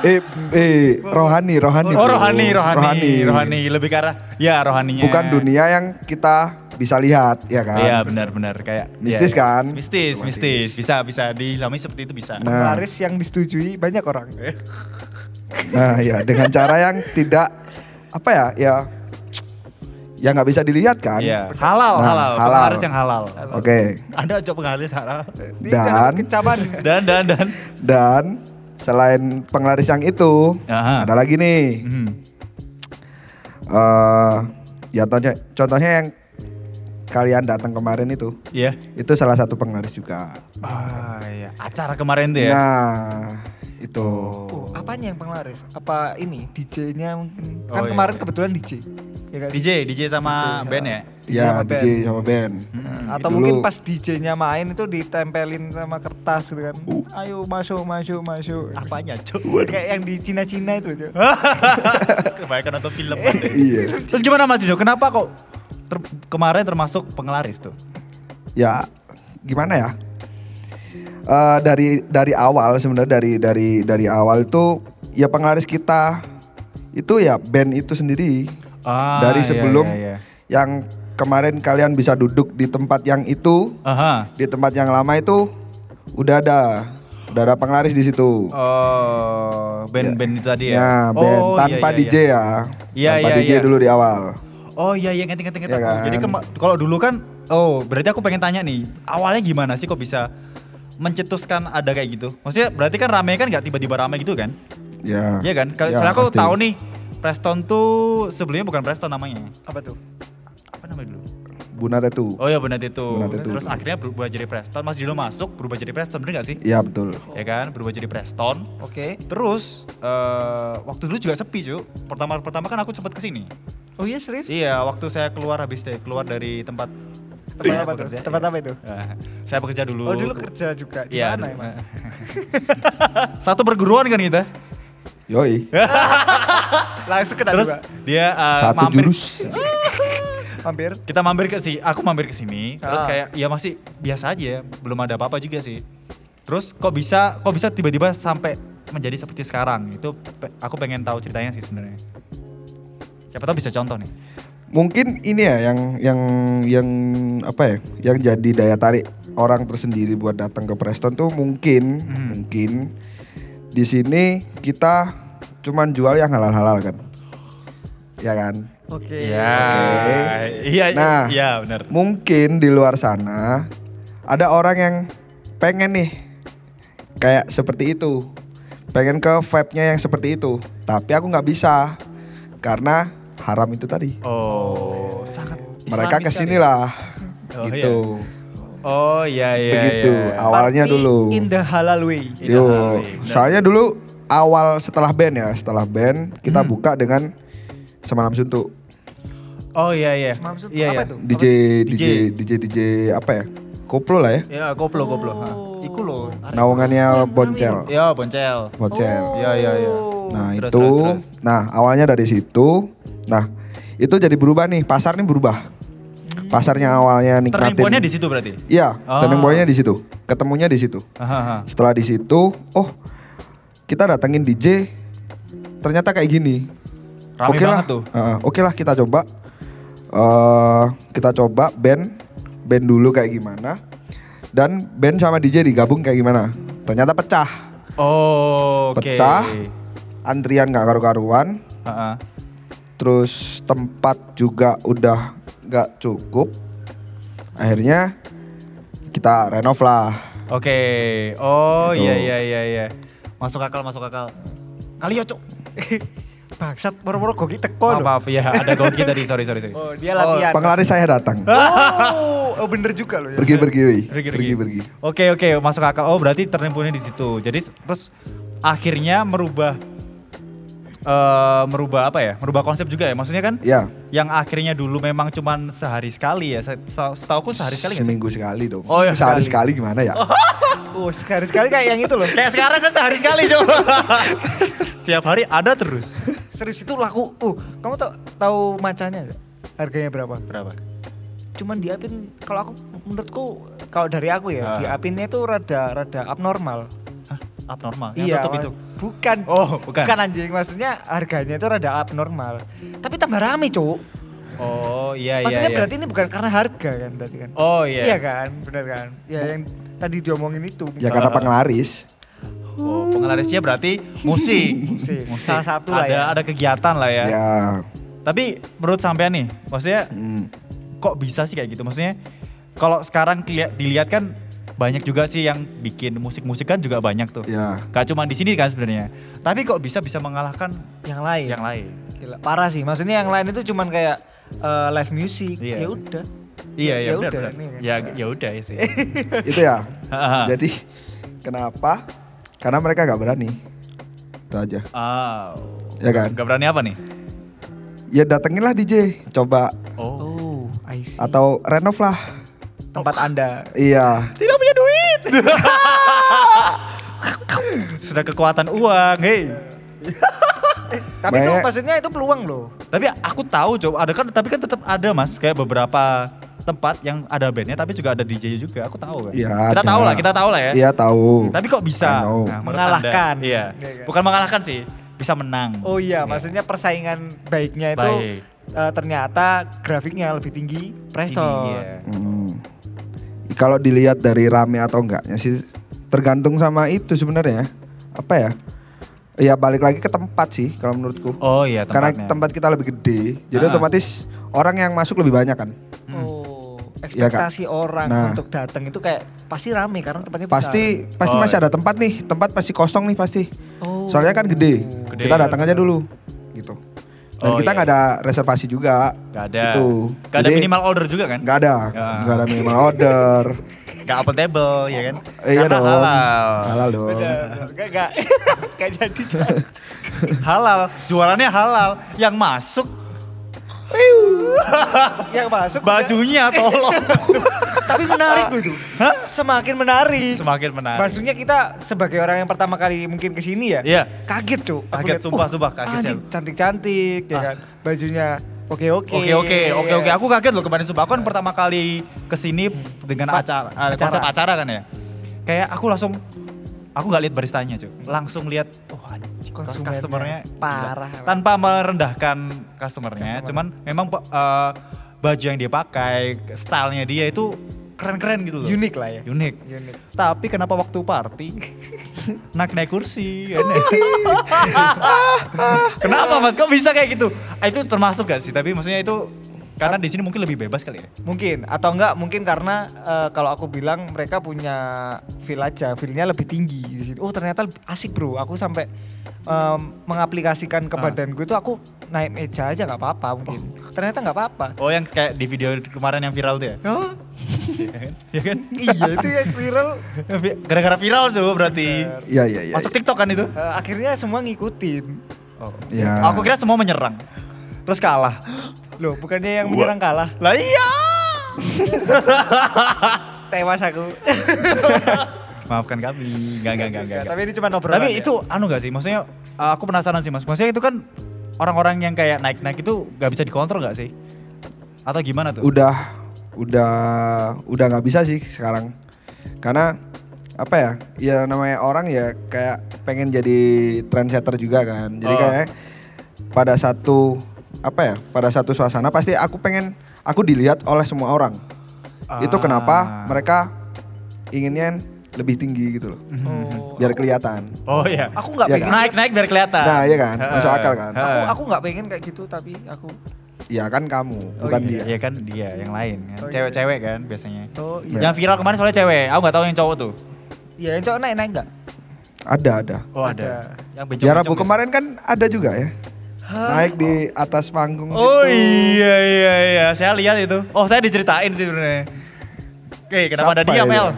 Speaker 3: Eh, eh, rohani, rohani.
Speaker 1: Oh
Speaker 3: bro.
Speaker 1: rohani, rohani, rohani, lebih ke arah ya rohaninya.
Speaker 3: Bukan dunia yang kita bisa lihat, ya kan?
Speaker 1: Iya benar-benar kayak iya,
Speaker 3: Mistis
Speaker 1: iya.
Speaker 3: kan?
Speaker 1: Mistis,
Speaker 3: Otomatis.
Speaker 1: mistis. Bisa bisa diilhami seperti itu bisa.
Speaker 3: Nah.
Speaker 2: Penglaris yang disetujui banyak orang.
Speaker 1: Eh,
Speaker 3: Nah, ya dengan cara yang tidak apa ya, ya ya nggak bisa dilihat kan?
Speaker 1: Iya. Halal,
Speaker 3: Nah,
Speaker 1: halal.
Speaker 3: halal.
Speaker 1: Penglaris yang halal.
Speaker 3: Oke.
Speaker 1: Anda ajak penglaris halal.
Speaker 3: Dan-
Speaker 2: kecaman.
Speaker 1: Dan dan dan.
Speaker 3: Dan selain penglaris yang itu,
Speaker 1: Aha.
Speaker 3: ada lagi nih.
Speaker 1: Hmm.
Speaker 3: eh ya contohnya, contohnya yang kalian datang kemarin itu,
Speaker 1: Iya.
Speaker 3: itu salah satu penglaris juga.
Speaker 1: Ah iya. Acara kemarin tuh ya.
Speaker 3: Nah, itu.
Speaker 2: Oh, apanya yang penglaris? Apa ini DJ-nya mungkin?
Speaker 1: Oh,
Speaker 2: Kan
Speaker 1: iya.
Speaker 2: kemarin kebetulan DJ. Ya kan?
Speaker 1: DJ, DJ sama
Speaker 2: DJ,
Speaker 1: band
Speaker 2: ya.
Speaker 1: ya.
Speaker 3: Ya,
Speaker 2: Iya, sama Hmm.
Speaker 3: DJ sama band.
Speaker 1: Hmm,
Speaker 2: Atau
Speaker 1: gitu.
Speaker 3: Dulu-
Speaker 2: mungkin pas DJ-nya main itu ditempelin sama kertas gitu kan.
Speaker 1: Uh.
Speaker 2: Ayo masuk, masuk, masuk.
Speaker 1: Apanya, Cuk?
Speaker 2: Kayak yang di Cina-Cina itu, Cuk.
Speaker 1: Kebanyakan nonton film. Anda.
Speaker 3: Iya.
Speaker 1: Terus gimana Mas Dino? Kenapa kok ter- kemarin termasuk penglaris tuh?
Speaker 3: ya gimana ya Eh, dari dari awal sebenarnya dari dari dari awal itu ya penglaris kita itu ya band itu sendiri
Speaker 1: Ah,
Speaker 3: dari
Speaker 1: iya,
Speaker 3: sebelum
Speaker 1: iya, iya.
Speaker 3: yang kemarin kalian bisa duduk di tempat yang itu
Speaker 1: Aha.
Speaker 3: di tempat yang lama itu udah ada udah ada penglaris di situ
Speaker 1: Oh, band-band itu tadi ya.
Speaker 3: ya band
Speaker 1: oh, iya,
Speaker 3: tanpa
Speaker 1: iya,
Speaker 3: DJ
Speaker 1: iya.
Speaker 3: ya
Speaker 1: Iya,
Speaker 3: tanpa
Speaker 1: iya,
Speaker 3: DJ
Speaker 1: iya.
Speaker 3: dulu di awal
Speaker 1: Oh iya iya ngerti ngerti ngerti.
Speaker 3: Iya
Speaker 1: aku.
Speaker 3: kan?
Speaker 1: Jadi kema- kalau dulu kan oh berarti aku pengen tanya nih, awalnya gimana sih kok bisa mencetuskan ada kayak gitu? Maksudnya berarti kan rame kan nggak tiba-tiba rame gitu kan?
Speaker 3: ya
Speaker 1: Iya kan? Kalau
Speaker 3: Ya,
Speaker 1: soalnya aku
Speaker 3: pasti.
Speaker 1: tahu nih Preston tuh sebelumnya bukan Preston namanya.
Speaker 2: Apa tuh?
Speaker 1: Apa namanya dulu?
Speaker 3: Buna Tetu
Speaker 1: Oh iya benar itu.
Speaker 3: Benar itu.
Speaker 1: Terus akhirnya berubah jadi Preston, Mas Dino masuk berubah jadi Preston bener gak sih?
Speaker 3: ya betul
Speaker 1: Ya kan? Berubah jadi Preston.
Speaker 2: Oke.
Speaker 1: Terus eh waktu dulu juga sepi, Cuk. Pertama-pertama kan aku sempat kesini
Speaker 2: Oh iya serius?
Speaker 1: Iya, waktu saya keluar habis deh, keluar dari tempat
Speaker 2: Tempat
Speaker 1: saya
Speaker 2: apa tuh?
Speaker 1: bekerja,
Speaker 2: Tempat
Speaker 1: iya.
Speaker 2: apa itu?
Speaker 1: Eh, saya bekerja dulu.
Speaker 2: Oh dulu kerja juga. Di
Speaker 1: Iya,
Speaker 2: mana
Speaker 1: dulu.
Speaker 2: emang?
Speaker 1: Satu perguruan kan kita.
Speaker 3: yoi
Speaker 1: Ya,
Speaker 2: Langsung kena
Speaker 1: Terus
Speaker 2: juga.
Speaker 1: dia eh,
Speaker 3: satu
Speaker 1: mampir
Speaker 3: jurus
Speaker 2: Hampir.
Speaker 1: kita mampir ke sih, aku mampir ke sini, terus
Speaker 2: Ah.
Speaker 1: kayak ya masih biasa aja, belum ada apa-apa juga sih. Terus kok bisa kok bisa tiba-tiba sampai menjadi seperti sekarang? Itu pe- aku pengen tahu ceritanya sih sebenarnya. Siapa tahu bisa contoh nih.
Speaker 3: mungkin ini ya yang yang yang apa ya yang jadi daya tarik orang tersendiri buat datang ke Preston tuh mungkin
Speaker 1: Mhm.
Speaker 3: mungkin di sini kita cuman jual yang halal-halal kan ya kan
Speaker 2: Oke.
Speaker 1: Iya.
Speaker 3: Oke.
Speaker 1: Iya,
Speaker 3: Nah.
Speaker 1: iya benar.
Speaker 3: mungkin di luar sana ada orang yang pengen nih kayak seperti itu pengen ke vibe-nya yang seperti itu tapi aku nggak bisa karena haram itu tadi
Speaker 1: Oh, sangat
Speaker 3: mereka
Speaker 1: islami sekali.
Speaker 3: kesinilah
Speaker 1: Oh, iya.
Speaker 3: gitu
Speaker 1: Oh iya iya.
Speaker 3: Begitu,
Speaker 1: iya.
Speaker 3: awal. Awalnya
Speaker 2: Party
Speaker 3: dulu.
Speaker 2: In the halal way.
Speaker 1: Iya,
Speaker 3: Yo,
Speaker 1: Harley, benar.
Speaker 3: soalnya dulu awal setelah band ya, setelah band kita
Speaker 1: Hmm.
Speaker 3: buka dengan semalam suntuk
Speaker 1: Oh iya iya.
Speaker 2: Semalam suntuk,
Speaker 1: iya,
Speaker 2: apa
Speaker 1: iya.
Speaker 2: tuh?
Speaker 3: DJ,
Speaker 1: DJ.
Speaker 3: DJ DJ DJ apa ya? Koplo lah ya.
Speaker 1: Ya koplo koplo. Hah. Iku lo.
Speaker 2: Iya,
Speaker 3: Naungannya Boncel.
Speaker 1: Ya boncel.
Speaker 3: Boncel.
Speaker 2: Oh.
Speaker 1: Iya iya iya.
Speaker 3: Nah,
Speaker 1: Terus,
Speaker 3: itu.
Speaker 1: terus, terus.
Speaker 3: Nah, awalnya dari situ. Nah, itu jadi berubah nih, pasar nih berubah.
Speaker 2: Hmm.
Speaker 3: Pasarnya awalnya
Speaker 1: Turning point-nya di
Speaker 3: nikmatin.
Speaker 1: situ berarti.
Speaker 3: Iya,
Speaker 1: Ah.
Speaker 3: turning point-nya di situ. Ketemunya di situ.
Speaker 1: Hahaha.
Speaker 3: Setelah di situ, oh kita datengin DJ, ternyata kayak gini.
Speaker 1: Rame
Speaker 3: Oke lah,
Speaker 1: banget tuh.
Speaker 3: Heeh, Oke lah kita coba, eh kita coba band, band dulu kayak gimana, dan band sama DJ digabung kayak gimana. Ternyata pecah,
Speaker 1: Oh, oke.
Speaker 3: pecah, antrian nggak karu-karuan,
Speaker 1: Heeh.
Speaker 3: terus tempat juga udah nggak cukup. Akhirnya kita renov lah.
Speaker 1: Oke. Oh
Speaker 3: Gitu.
Speaker 1: iya iya iya iya. Masuk akal masuk akal. Kali ya, Cuk.
Speaker 2: Bangsat, moro-moro goki teko
Speaker 1: Maaf,
Speaker 2: loh.
Speaker 1: maaf ya, ada goki tadi, sorry sorry sorry.
Speaker 2: Oh, dia latihan.
Speaker 3: Penglaris saya datang,
Speaker 1: Eh.
Speaker 2: Oh, oh, bener juga loh ya.
Speaker 3: pergi-pergi, wih.
Speaker 1: Pergi-pergi.
Speaker 3: pergi-pergi.
Speaker 1: Oh, Oke oke masuk akal. Oh berarti turning point-nya di situ. Jadi terus akhirnya merubah eh, merubah apa ya? Merubah konsep juga ya. Maksudnya kan
Speaker 3: Ya.
Speaker 1: yang akhirnya dulu memang cuman sehari sekali ya. Se- se- Setauku sehari sekali nggak sih?
Speaker 3: Seminggu sekali dong.
Speaker 1: Oh, iya,
Speaker 3: Sehari
Speaker 1: sekali.
Speaker 3: sekali gimana ya?
Speaker 2: Oh sekali sekali kayak yang itu loh.
Speaker 1: Kayak sekarang kan sehari sekali coba. Tiap hari ada terus.
Speaker 2: Serius itu laku. Uh, kamu tau tahu macanya gak? Harganya berapa?
Speaker 1: Berapa?
Speaker 2: Cuman diapin kalau aku menurutku kalau dari aku
Speaker 1: Ah.
Speaker 2: ya diapinnya itu rada rada abnormal. Iya,
Speaker 1: Hah? Abnormal. Yang tutup
Speaker 2: Mas.
Speaker 1: itu.
Speaker 2: Bukan.
Speaker 1: Oh, bukan.
Speaker 2: Bukan anjing maksudnya harganya itu rada abnormal. Tapi tambah rame cuk.
Speaker 1: Oh iya iya.
Speaker 2: Maksudnya
Speaker 1: iya.
Speaker 2: berarti ini bukan karena harga kan berarti kan?
Speaker 1: Oh iya.
Speaker 2: Iya kan, benar kan? Ya yang tadi diomongin itu.
Speaker 3: ya karena penglaris.
Speaker 1: Oh, penglarisnya berarti musik.
Speaker 2: Musik. Salah satu
Speaker 1: ada,
Speaker 2: lah ya. Iya.
Speaker 1: Ada kegiatan lah ya.
Speaker 3: Ya.
Speaker 1: Tapi menurut sampean nih, maksudnya
Speaker 3: Hmm.
Speaker 1: kok bisa sih kayak gitu? Maksudnya kalau sekarang dilihat, dilihat kan banyak juga sih yang bikin musik-musik kan juga banyak tuh.
Speaker 2: Iya.
Speaker 3: Ya.
Speaker 1: Gak cuma di sini kan sebenarnya. Tapi kok bisa bisa mengalahkan
Speaker 2: yang lain.
Speaker 1: yang lain?
Speaker 2: Gila, parah sih. Maksudnya yang lain itu cuman kayak eh, live music.
Speaker 1: Iya.
Speaker 2: Ya udah.
Speaker 1: Iya, ya, udah,
Speaker 2: udah.
Speaker 1: benar.
Speaker 2: ini kan.
Speaker 1: Ya, ya udah ya sih.
Speaker 3: itu ya.
Speaker 1: Ah.
Speaker 3: Jadi kenapa? Karena mereka nggak berani. Itu aja.
Speaker 1: Ah,
Speaker 3: Ya kan?
Speaker 1: Gak berani apa nih?
Speaker 3: Ya datenginlah DJ, coba
Speaker 1: Oh.
Speaker 2: Oh, I see.
Speaker 3: atau renov lah.
Speaker 2: tempat Anda.
Speaker 3: Iya.
Speaker 1: Tidak punya duit. Sudah kekuatan uang, hei.
Speaker 2: Tapi itu
Speaker 3: Banyak-
Speaker 2: maksudnya itu peluang loh.
Speaker 1: Tapi aku tahu coba ada kan tapi kan tetap ada Mas kayak beberapa tempat yang ada bandnya tapi juga ada DJ juga aku tahu kan.
Speaker 3: Iya.
Speaker 1: kita
Speaker 3: ada.
Speaker 1: tahu lah, kita tahu lah ya.
Speaker 3: Iya, tahu.
Speaker 1: Tapi kok
Speaker 3: I
Speaker 1: bisa Nah,
Speaker 3: know.
Speaker 1: menurut
Speaker 2: Mengalahkan.
Speaker 1: Anda, iya.
Speaker 2: Iya kan?
Speaker 1: Bukan mengalahkan sih, bisa menang.
Speaker 2: Oh iya, maksudnya persaingan baiknya itu
Speaker 1: Baik.
Speaker 2: eh, ternyata grafiknya lebih tinggi Presto.
Speaker 1: Ini, iya.
Speaker 3: Hmm. Kalau dilihat dari rame atau enggaknya sih tergantung sama itu sebenarnya. Apa ya? Ya balik lagi ke tempat sih kalau menurutku.
Speaker 1: Oh iya
Speaker 3: Karena
Speaker 1: tempatnya.
Speaker 3: tempat kita lebih gede, jadi
Speaker 1: Ah.
Speaker 3: otomatis orang yang masuk lebih banyak kan.
Speaker 2: Oh,
Speaker 3: Iya, Kak.
Speaker 2: ekspektasi orang
Speaker 3: Nah.
Speaker 2: untuk datang itu kayak pasti rame karena tempatnya besar.
Speaker 3: Pasti pasti
Speaker 1: Oh,
Speaker 3: masih
Speaker 1: iya.
Speaker 3: ada tempat nih, tempat pasti kosong nih pasti.
Speaker 2: Oh.
Speaker 3: Soalnya kan gede.
Speaker 1: Gede.
Speaker 3: Kita datang aja dulu gitu.
Speaker 1: Oh,
Speaker 3: Dan kita
Speaker 1: iya.
Speaker 3: nggak ada reservasi juga.
Speaker 1: Gak ada.
Speaker 3: Gitu.
Speaker 1: Gak ada
Speaker 3: Jadi,
Speaker 1: minimal order juga kan?
Speaker 3: Nggak ada.
Speaker 1: Ya.
Speaker 3: Nggak ada minimal order.
Speaker 1: Gak open table ya kan?
Speaker 3: Eh, iya
Speaker 1: Karena
Speaker 3: dong.
Speaker 1: halal.
Speaker 3: Halal dong.
Speaker 2: Beda, beda. Enggak, enggak. Enggak jadi. Cak.
Speaker 1: Halal, jualannya halal. Yang masuk
Speaker 2: Yang Iya, masuk
Speaker 1: bajunya tolong.
Speaker 2: udah. tapi menarik loh itu.
Speaker 1: Hah?
Speaker 2: Semakin menarik.
Speaker 1: Semakin menarik.
Speaker 2: Maksudnya kita sebagai orang yang pertama kali mungkin ke sini ya.
Speaker 1: Iya.
Speaker 2: Kaget, Cuk. Aku
Speaker 1: Kaget,
Speaker 2: lihat,
Speaker 1: sumpah,
Speaker 2: "Wah,
Speaker 1: sumpah, kaget
Speaker 2: Anjing,
Speaker 1: saya."
Speaker 2: cantik-cantik ya
Speaker 1: Ah.
Speaker 2: kan. Bajunya oke-oke.
Speaker 1: Oke oke oke oke. Aku kaget loh kemarin sumpah. Aku kan pertama kali kesini dengan acara, eh, konsep acara kan ya. Kayak aku langsung aku nggak lihat baristanya cuy. Langsung lihat oh anjing
Speaker 2: Konsumennya
Speaker 1: customernya
Speaker 2: parah.
Speaker 1: gila. Tanpa merendahkan customernya,
Speaker 2: Customer.
Speaker 1: cuman memang eh, baju yang dia pakai, stylenya dia itu keren-keren gitu loh.
Speaker 2: Unik lah ya.
Speaker 1: Unik.
Speaker 2: Unik.
Speaker 1: Tapi kenapa waktu party naik-naik kursi? ya, Nek? kenapa Mas? Kok bisa kayak gitu? Ah, Itu termasuk gak sih? Tapi maksudnya itu karena di sini mungkin lebih bebas kali ya.
Speaker 2: Mungkin atau enggak mungkin karena eh, kalau aku bilang mereka punya feel aja, feelnya lebih tinggi di sini. Oh, ternyata lebih asik, Bro. Aku sampai em, mengaplikasikan ke
Speaker 1: Ah.
Speaker 2: badanku itu aku naik meja aja nggak apa-apa mungkin. Ternyata nggak apa-apa.
Speaker 1: Oh, yang kayak di video kemarin yang viral tuh ya?
Speaker 2: Oh,
Speaker 1: Iya kan? Iya kan?
Speaker 2: iya itu yang viral.
Speaker 1: Gara-gara viral tuh berarti.
Speaker 3: Iya iya iya.
Speaker 1: Masuk TikTok kan itu? Iya.
Speaker 2: Eh, akhirnya semua ngikutin.
Speaker 3: Ya.
Speaker 1: Aku kira semua menyerang. Terus kalah.
Speaker 2: Loh, bukannya yang menyerang kalah.
Speaker 1: Lah iya.
Speaker 2: Tewas aku.
Speaker 1: Maafkan kami. Enggak, enggak, enggak, enggak.
Speaker 2: Tapi ini cuma obrolan.
Speaker 1: Tapi
Speaker 2: ya.
Speaker 1: itu anu gak sih? Maksudnya uh, aku penasaran sih mas. Maksudnya itu kan orang-orang yang kayak naik-naik itu gak bisa dikontrol gak sih? Atau gimana tuh?
Speaker 3: udah udah udah nggak bisa sih sekarang karena apa ya ya namanya orang ya kayak pengen jadi trendsetter juga kan jadi
Speaker 1: Oh.
Speaker 3: kayak pada satu apa ya pada satu suasana pasti aku pengen aku dilihat oleh semua orang itu
Speaker 1: Ah.
Speaker 3: kenapa mereka inginnya lebih tinggi gitu loh
Speaker 1: Mm-hmm.
Speaker 2: Oh,
Speaker 3: biar kelihatan
Speaker 1: Oh iya.
Speaker 2: aku nggak
Speaker 3: Iya
Speaker 2: pengen.
Speaker 3: kan?
Speaker 1: Naik-naik biar kelihatan.
Speaker 3: nah iya kan masuk
Speaker 1: Heeh.
Speaker 3: akal kan
Speaker 1: Heeh.
Speaker 2: Aku aku nggak pengen kayak gitu tapi aku
Speaker 3: ya kan kamu bukan
Speaker 1: Iya
Speaker 3: dia
Speaker 1: iya kan dia yang lain kan.
Speaker 2: Oh, iya.
Speaker 1: Cewek-cewek kan biasanya.
Speaker 2: Oh iya.
Speaker 3: Ya.
Speaker 1: Yang viral kemarin soalnya cewek. Aku gak tahu yang cowok tuh.
Speaker 2: Iya, yang cowok naik-naik enggak?
Speaker 3: ada ada
Speaker 1: Oh ada.
Speaker 2: Ada.
Speaker 1: Yang bencong-bencong
Speaker 3: Ya Rabu
Speaker 1: biasa.
Speaker 3: kemarin kan ada juga ya. Naik di atas panggung gitu.
Speaker 1: Oh
Speaker 3: situ.
Speaker 1: iya iya iya, saya lihat itu. Oh saya diceritain sih sebenarnya. Oke, kenapa ada
Speaker 3: Siapa
Speaker 1: diam,
Speaker 3: ya?
Speaker 1: El?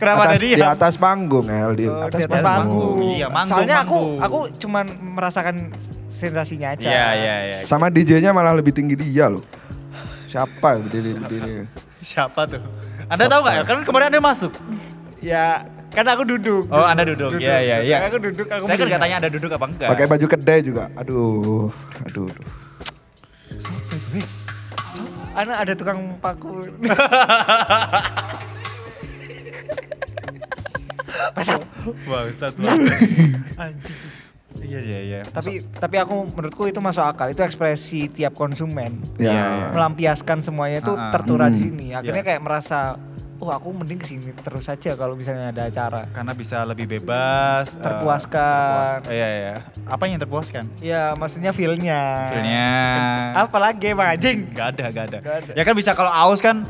Speaker 1: kenapa ada
Speaker 3: atas,
Speaker 1: diam?
Speaker 3: di atas panggung El di
Speaker 2: Oh,
Speaker 3: atas,
Speaker 2: di atas
Speaker 3: panggung.
Speaker 2: panggung.
Speaker 1: Iya, manggung,
Speaker 2: Soalnya aku
Speaker 1: manggung.
Speaker 2: aku cuman merasakan sensasinya aja.
Speaker 1: Iya, iya, iya.
Speaker 3: Sama DJ-nya malah lebih tinggi dia loh. Siapa berdiri berdiri?
Speaker 1: Siapa tuh? Anda tahu nggak? El? Kan kemarin Anda masuk.
Speaker 2: Ya, kan aku duduk.
Speaker 1: Oh, Anda duduk. Iya, iya, iya.
Speaker 2: Aku duduk, aku
Speaker 1: Saya kan
Speaker 2: melihat.
Speaker 1: katanya Anda duduk apa enggak?
Speaker 3: Pakai baju kedai juga. Aduh, aduh. aduh.
Speaker 1: Sampai gue.
Speaker 2: Anak ada tukang pakul.
Speaker 1: Bangsat banget. Anjing. Iya, iya, iya.
Speaker 2: tapi tapi aku menurutku itu masuk akal. Itu ekspresi tiap konsumen.
Speaker 1: Iya,
Speaker 3: Ya.
Speaker 1: iya.
Speaker 2: Melampiaskan semuanya itu
Speaker 1: Ah, ah.
Speaker 2: tertura di
Speaker 3: Hmm.
Speaker 2: sini. Akhirnya kayak merasa, "Oh, aku mending kesini terus saja kalau misalnya ada acara."
Speaker 1: Karena bisa lebih bebas. eh,
Speaker 2: Terpuaskan.
Speaker 1: terpuas- Iya, iya. Apa yang terpuaskan?
Speaker 2: Ya, maksudnya feel-nya.
Speaker 1: Feelnya.
Speaker 2: Apalagi Bang Anjing.
Speaker 1: Gak ada, gak ada.
Speaker 2: Nggak ada.
Speaker 1: Ya kan bisa kalau aus kan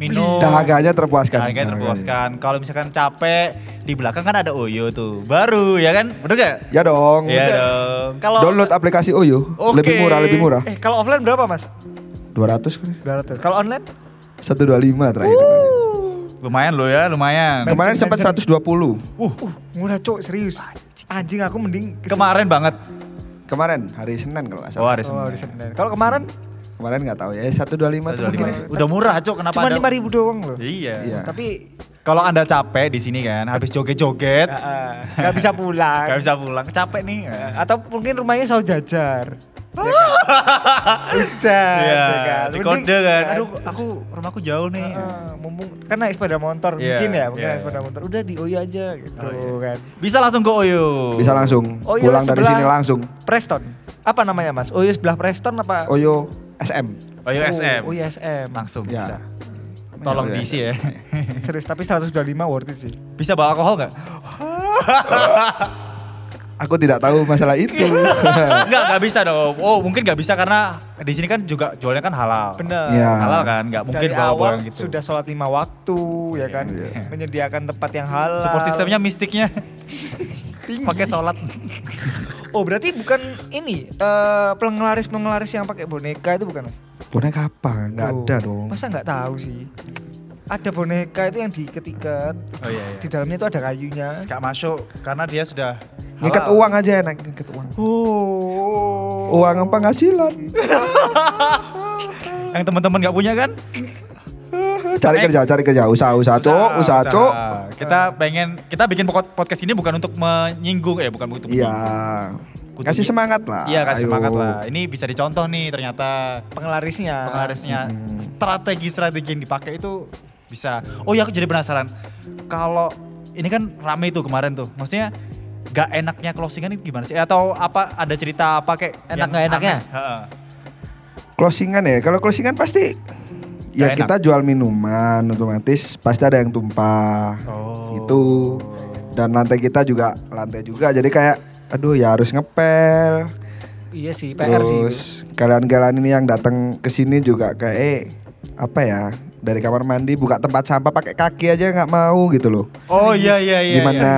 Speaker 1: minum.
Speaker 3: Dahaganya terpuaskan.
Speaker 1: Harganya
Speaker 3: Dahaganya.
Speaker 1: terpuaskan. Kalau misalkan capek, di belakang kan ada Oyo tuh. Baru ya kan? Bener gak?
Speaker 3: Ya dong.
Speaker 1: Iya dong.
Speaker 2: Kalau
Speaker 3: Download aplikasi Oyo.
Speaker 1: Oke.
Speaker 3: Lebih murah, lebih murah.
Speaker 2: Eh, kalau offline berapa, Mas?
Speaker 3: 200 kan.
Speaker 2: 200. Kalau online?
Speaker 3: 125 terakhir.
Speaker 1: Lumayan loh ya, lumayan.
Speaker 3: Kemarin sempat 120.
Speaker 1: uh,
Speaker 2: Uh, murah cok, serius. Anjing aku mending kesini.
Speaker 1: kemarin banget.
Speaker 3: Kemarin hari Senin kalau nggak
Speaker 1: Oh,
Speaker 3: salah.
Speaker 1: hari
Speaker 2: Oh,
Speaker 1: Senin.
Speaker 2: hari Senin. Kalau kemarin
Speaker 3: Kemarin nggak tahu ya 125 tuh mungkin.
Speaker 1: 125. Udah murah, Cok. Kenapa
Speaker 2: cuma
Speaker 1: ada?
Speaker 2: 5000 doang loh.
Speaker 1: Iya.
Speaker 3: Iya.
Speaker 2: Tapi
Speaker 1: Kalau Anda capek di sini kan, habis joget-joget,
Speaker 2: Iya. nggak bisa pulang.
Speaker 1: nggak bisa pulang, capek nih.
Speaker 2: Eh, Atau mungkin rumahnya saus jajar. Ya kan? Hujan,
Speaker 1: Iya,
Speaker 2: ya kan?
Speaker 1: di
Speaker 2: Mending-
Speaker 1: kode kan. Aduh, aku rumahku jauh nih.
Speaker 2: Heeh, mumpung kan naik sepeda motor
Speaker 1: Iya,
Speaker 2: mungkin ya, mungkin
Speaker 1: iya.
Speaker 2: naik sepeda motor. Udah di Oyo aja gitu
Speaker 1: Oh,
Speaker 2: kan.
Speaker 1: Bisa langsung ke Oyo.
Speaker 3: Bisa langsung.
Speaker 2: Oyo
Speaker 3: Pulang dari
Speaker 2: Oh, iya, sebelah
Speaker 3: sini langsung.
Speaker 2: Preston. Apa namanya, Mas? Oyo sebelah Preston apa?
Speaker 3: Oyo SM.
Speaker 1: Oyo
Speaker 2: Oh, Iya.
Speaker 1: SM.
Speaker 2: Oyo SM.
Speaker 1: iya, Langsung
Speaker 3: Ya.
Speaker 1: bisa. Tolong
Speaker 2: iya.
Speaker 3: Oyo
Speaker 1: diisi ya.
Speaker 2: Serius, tapi 125 worth it sih.
Speaker 1: Bisa bawa alkohol nggak?
Speaker 3: Aku tidak tahu masalah itu.
Speaker 1: Enggak, enggak bisa dong. Oh, mungkin enggak bisa karena di sini kan juga jualnya kan halal.
Speaker 2: Bener.
Speaker 3: Iya.
Speaker 1: Halal kan, enggak mungkin
Speaker 2: Dari
Speaker 1: bawa
Speaker 2: awal
Speaker 1: barang gitu.
Speaker 2: sudah sholat lima waktu ya kan,
Speaker 3: Iya.
Speaker 2: menyediakan tempat yang halal.
Speaker 1: support sistemnya mistiknya pakai sholat.
Speaker 2: Oh berarti bukan ini eh, pengelaris pengelaris yang pakai boneka itu bukan? Mas?
Speaker 3: Boneka apa?
Speaker 1: Oh.
Speaker 3: Nggak
Speaker 2: Loh,
Speaker 3: ada dong.
Speaker 2: Masa nggak tahu sih? Ada boneka itu yang diketiket.
Speaker 1: Oh iya
Speaker 2: Di dalamnya itu ada kayunya.
Speaker 1: Enggak masuk karena dia sudah halal.
Speaker 3: Ngikat uang aja enak ngikat uang.
Speaker 2: Oh.
Speaker 3: Uang penghasilan.
Speaker 1: Yang teman-teman enggak punya kan?
Speaker 3: cari kerja, cari kerja. Usaha, usaha, cuk, usaha, cuk.
Speaker 1: Kita pengen kita bikin pokok- podcast ini bukan untuk menyinggung ya, bukan untuk
Speaker 3: Iya.
Speaker 1: Kudu-
Speaker 3: Kasih semangat lah.
Speaker 1: Iya kasih
Speaker 3: ayo.
Speaker 1: semangat lah. Ini bisa dicontoh nih ternyata
Speaker 2: Penglarisnya.
Speaker 1: penglarisnya
Speaker 3: Mm.
Speaker 1: strategi-strategi yang dipakai itu bisa. Oh ya aku jadi penasaran. Kalau ini kan rame itu kemarin tuh. Maksudnya gak enaknya closingan itu gimana sih? Atau apa ada cerita apa kayak
Speaker 2: Enak nggak enaknya?
Speaker 3: Closingan ya. Kalau closingan pasti
Speaker 1: Nggak
Speaker 3: ya
Speaker 1: enak.
Speaker 3: kita jual minuman otomatis pasti ada yang tumpah.
Speaker 1: Oh.
Speaker 3: Itu dan lantai kita juga lantai juga jadi kayak aduh ya harus ngepel.
Speaker 2: Iya sih, PR
Speaker 3: Terus
Speaker 2: sih.
Speaker 3: kalian-kalian ini yang datang ke sini juga kayak eh apa ya? Dari kamar mandi buka tempat sampah pakai kaki aja nggak mau gitu loh.
Speaker 1: Oh iya iya iya.
Speaker 3: Gimana?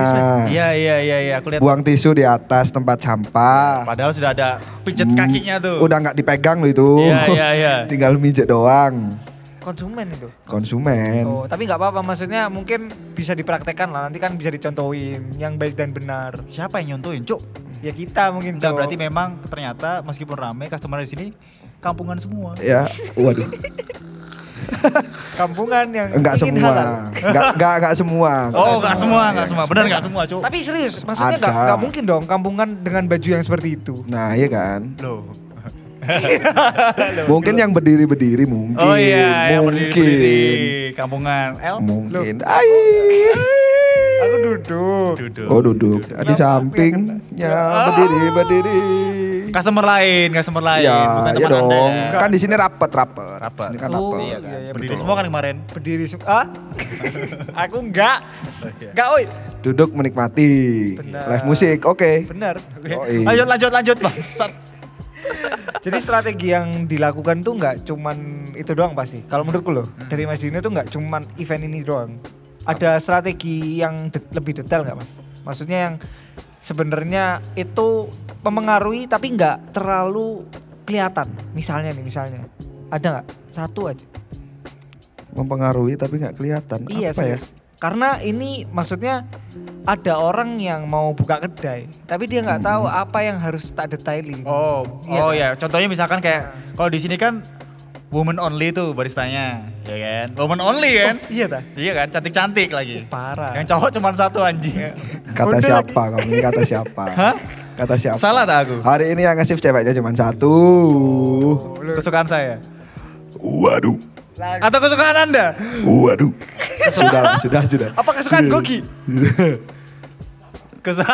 Speaker 1: Iya iya iya iya aku lihat.
Speaker 3: Buang tisu di atas tempat sampah.
Speaker 1: Padahal sudah ada pijet
Speaker 3: Hmm,
Speaker 1: kakinya tuh.
Speaker 3: Udah nggak dipegang loh itu.
Speaker 1: Iya iya iya.
Speaker 3: Tinggal mijet doang.
Speaker 2: Konsumen itu.
Speaker 3: Konsumen.
Speaker 2: Oh, tapi nggak apa-apa maksudnya mungkin bisa dipraktekkan lah nanti kan bisa dicontohin yang baik dan benar
Speaker 1: Siapa yang nyontoin, Cuk?
Speaker 2: ya kita mungkin
Speaker 1: Enggak
Speaker 2: Cok.
Speaker 1: berarti memang ternyata meskipun rame customer di sini kampungan semua.
Speaker 3: Ya, waduh.
Speaker 2: kampungan yang
Speaker 3: Enggak
Speaker 2: ingin
Speaker 3: semua.
Speaker 2: halal.
Speaker 3: Enggak enggak enggak semua. Iya.
Speaker 1: Oh, enggak semua, enggak semua. Benar enggak semua, Cuk?
Speaker 2: tapi serius maksudnya
Speaker 3: Ada.
Speaker 2: nggak nggak mungkin dong kampungan dengan baju yang seperti itu
Speaker 3: Nah, iya kan.
Speaker 1: Loh.
Speaker 3: Mungkin yang berdiri-berdiri mungkin.
Speaker 1: Oh iya, yang
Speaker 3: mungkin.
Speaker 1: berdiri-berdiri kampungan. El.
Speaker 3: Mungkin. Ai.
Speaker 2: aku duduk
Speaker 1: Duduk.
Speaker 3: Oh, duduk. Di samping. Ya, berdiri, berdiri.
Speaker 1: Customer lain, customer lain.
Speaker 3: Ya,
Speaker 1: Bukan
Speaker 3: ya
Speaker 1: teman Anda.
Speaker 3: dong.
Speaker 1: ya.
Speaker 3: Kan di sini rapet, rapet.
Speaker 1: Rapet.
Speaker 3: Di sini kan
Speaker 2: Oh,
Speaker 3: rapet.
Speaker 1: Iya kan?
Speaker 2: Iya, iya,
Speaker 1: Berdiri
Speaker 2: betul.
Speaker 1: semua kan kemarin.
Speaker 2: berdiri se- ah? aku nggak
Speaker 1: Oh, iya.
Speaker 2: nggak oi
Speaker 3: Duduk menikmati.
Speaker 2: Benar.
Speaker 3: Live musik. Oke.
Speaker 2: benar
Speaker 1: Iya.
Speaker 3: Yoi.
Speaker 1: Lanjut lanjut lanjut, Bangsat.
Speaker 2: jadi strategi yang dilakukan tuh nggak cuman itu doang pasti kalau menurutku loh
Speaker 1: Hmm.
Speaker 2: dari Mas Dino tuh nggak cuman event ini doang ada strategi yang det- lebih detail nggak mas maksudnya yang sebenarnya itu memengaruhi tapi nggak terlalu kelihatan misalnya nih misalnya ada nggak satu aja
Speaker 3: mempengaruhi tapi nggak kelihatan.
Speaker 2: Iya
Speaker 3: Apa ya?
Speaker 2: serius. Karena ini maksudnya ada orang yang mau buka kedai, tapi dia nggak tahu apa yang harus tak detaili.
Speaker 1: Hmm. Oh,
Speaker 2: Iya
Speaker 1: oh
Speaker 2: kan?
Speaker 1: ya. Contohnya misalkan kayak kalau di sini kan woman only tuh baristanya, ya kan? Woman only kan?
Speaker 2: Iya ta?
Speaker 1: Iya kan, cantik-cantik lagi.
Speaker 2: Parah.
Speaker 1: Yang cowok cuma satu anjing.
Speaker 3: Kata
Speaker 2: Udah
Speaker 3: siapa
Speaker 2: lagi.
Speaker 3: kamu? ini Kata siapa?
Speaker 1: Hah?
Speaker 3: Kata siapa?
Speaker 1: Salah tak aku?
Speaker 3: Hari ini yang ngasih ceweknya cuma satu.
Speaker 1: Kesukaan saya.
Speaker 3: Waduh.
Speaker 2: Langsung.
Speaker 1: Atau kesukaan Anda?
Speaker 3: Waduh. sudah, lah, sudah, sudah.
Speaker 2: Apa kesukaan
Speaker 3: Sudah.
Speaker 2: Gogi?
Speaker 1: Kes-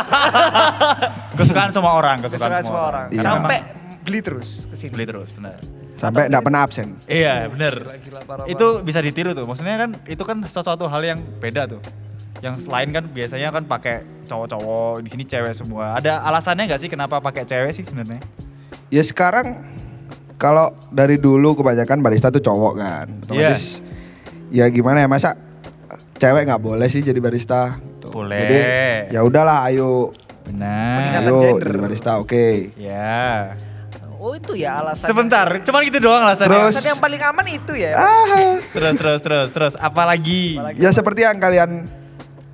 Speaker 1: kesukaan semua orang, kesukaan,
Speaker 2: Kesukaan semua orang.
Speaker 3: Iya.
Speaker 2: Sampai beli terus ke sini.
Speaker 1: beli terus, benar.
Speaker 3: Sampai enggak pernah absen.
Speaker 1: Iya, benar.
Speaker 2: Gila, parah
Speaker 1: Itu bisa ditiru tuh. Maksudnya kan itu kan sesuatu hal yang beda tuh. Yang lain kan biasanya kan pakai cowok-cowok, di sini cewek semua. Ada alasannya nggak sih kenapa pakai cewek sih sebenarnya?
Speaker 3: Ya sekarang kalau dari dulu kebanyakan barista tuh cowok kan. Otomatis
Speaker 1: Iya.
Speaker 3: ya gimana ya masa cewek nggak boleh sih jadi barista. Gitu.
Speaker 1: Boleh.
Speaker 3: Jadi ya udahlah ayo
Speaker 1: Benar.
Speaker 2: Peningkatan
Speaker 3: ayo
Speaker 2: gender.
Speaker 3: jadi barista oke.
Speaker 1: Ya.
Speaker 2: Oh itu ya alasannya.
Speaker 1: Sebentar, cuman gitu doang alasannya.
Speaker 3: Terus.
Speaker 2: Alasan yang paling aman itu ya.
Speaker 3: Ah.
Speaker 1: terus terus terus terus apalagi?
Speaker 3: Ya seperti yang kalian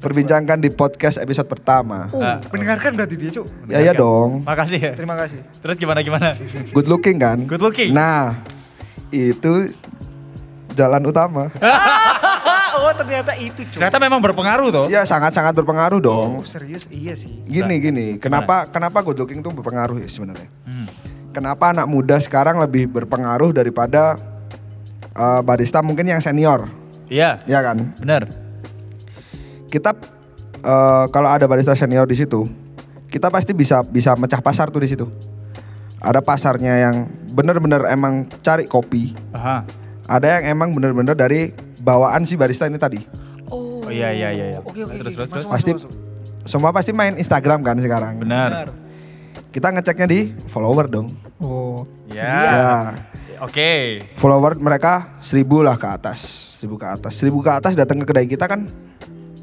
Speaker 3: perbincangkan di podcast episode pertama.
Speaker 2: Uh, mendengarkan berarti dia, Cuk.
Speaker 3: Ya
Speaker 1: kan?
Speaker 3: ya dong.
Speaker 1: Makasih ya.
Speaker 2: Terima kasih.
Speaker 1: Terus gimana gimana?
Speaker 3: Good looking kan?
Speaker 1: Good looking.
Speaker 3: Nah, itu jalan utama.
Speaker 2: Ah, oh ternyata itu, Cuk.
Speaker 1: Ternyata memang berpengaruh tuh.
Speaker 3: Ya sangat-sangat berpengaruh
Speaker 2: Oh,
Speaker 3: dong.
Speaker 2: serius? Iya sih.
Speaker 3: Gini gini, kenapa kenapa good looking tuh berpengaruh ya sebenarnya? Kenapa anak muda sekarang lebih berpengaruh daripada eh, barista mungkin yang senior,
Speaker 1: Iya,
Speaker 3: ya kan?
Speaker 1: benar.
Speaker 3: Kita eh, kalau ada barista senior di situ, kita pasti bisa bisa mecah pasar tuh di situ. Ada pasarnya yang bener-bener emang cari kopi,
Speaker 1: Aha.
Speaker 3: ada yang emang bener-bener dari bawaan si barista ini tadi.
Speaker 1: Oh iya iya iya. iya.
Speaker 2: Oke, oke,
Speaker 1: Terus
Speaker 2: oke.
Speaker 1: terus terus.
Speaker 2: Masuk.
Speaker 3: Pasti semua pasti main Instagram kan sekarang.
Speaker 1: Benar.
Speaker 3: Kita ngeceknya di follower dong.
Speaker 2: Oh.
Speaker 1: Ya.
Speaker 3: Ya.
Speaker 1: Oke.
Speaker 3: follower mereka seribu lah ke atas seribu ke atas seribu ke atas datang ke kedai kita kan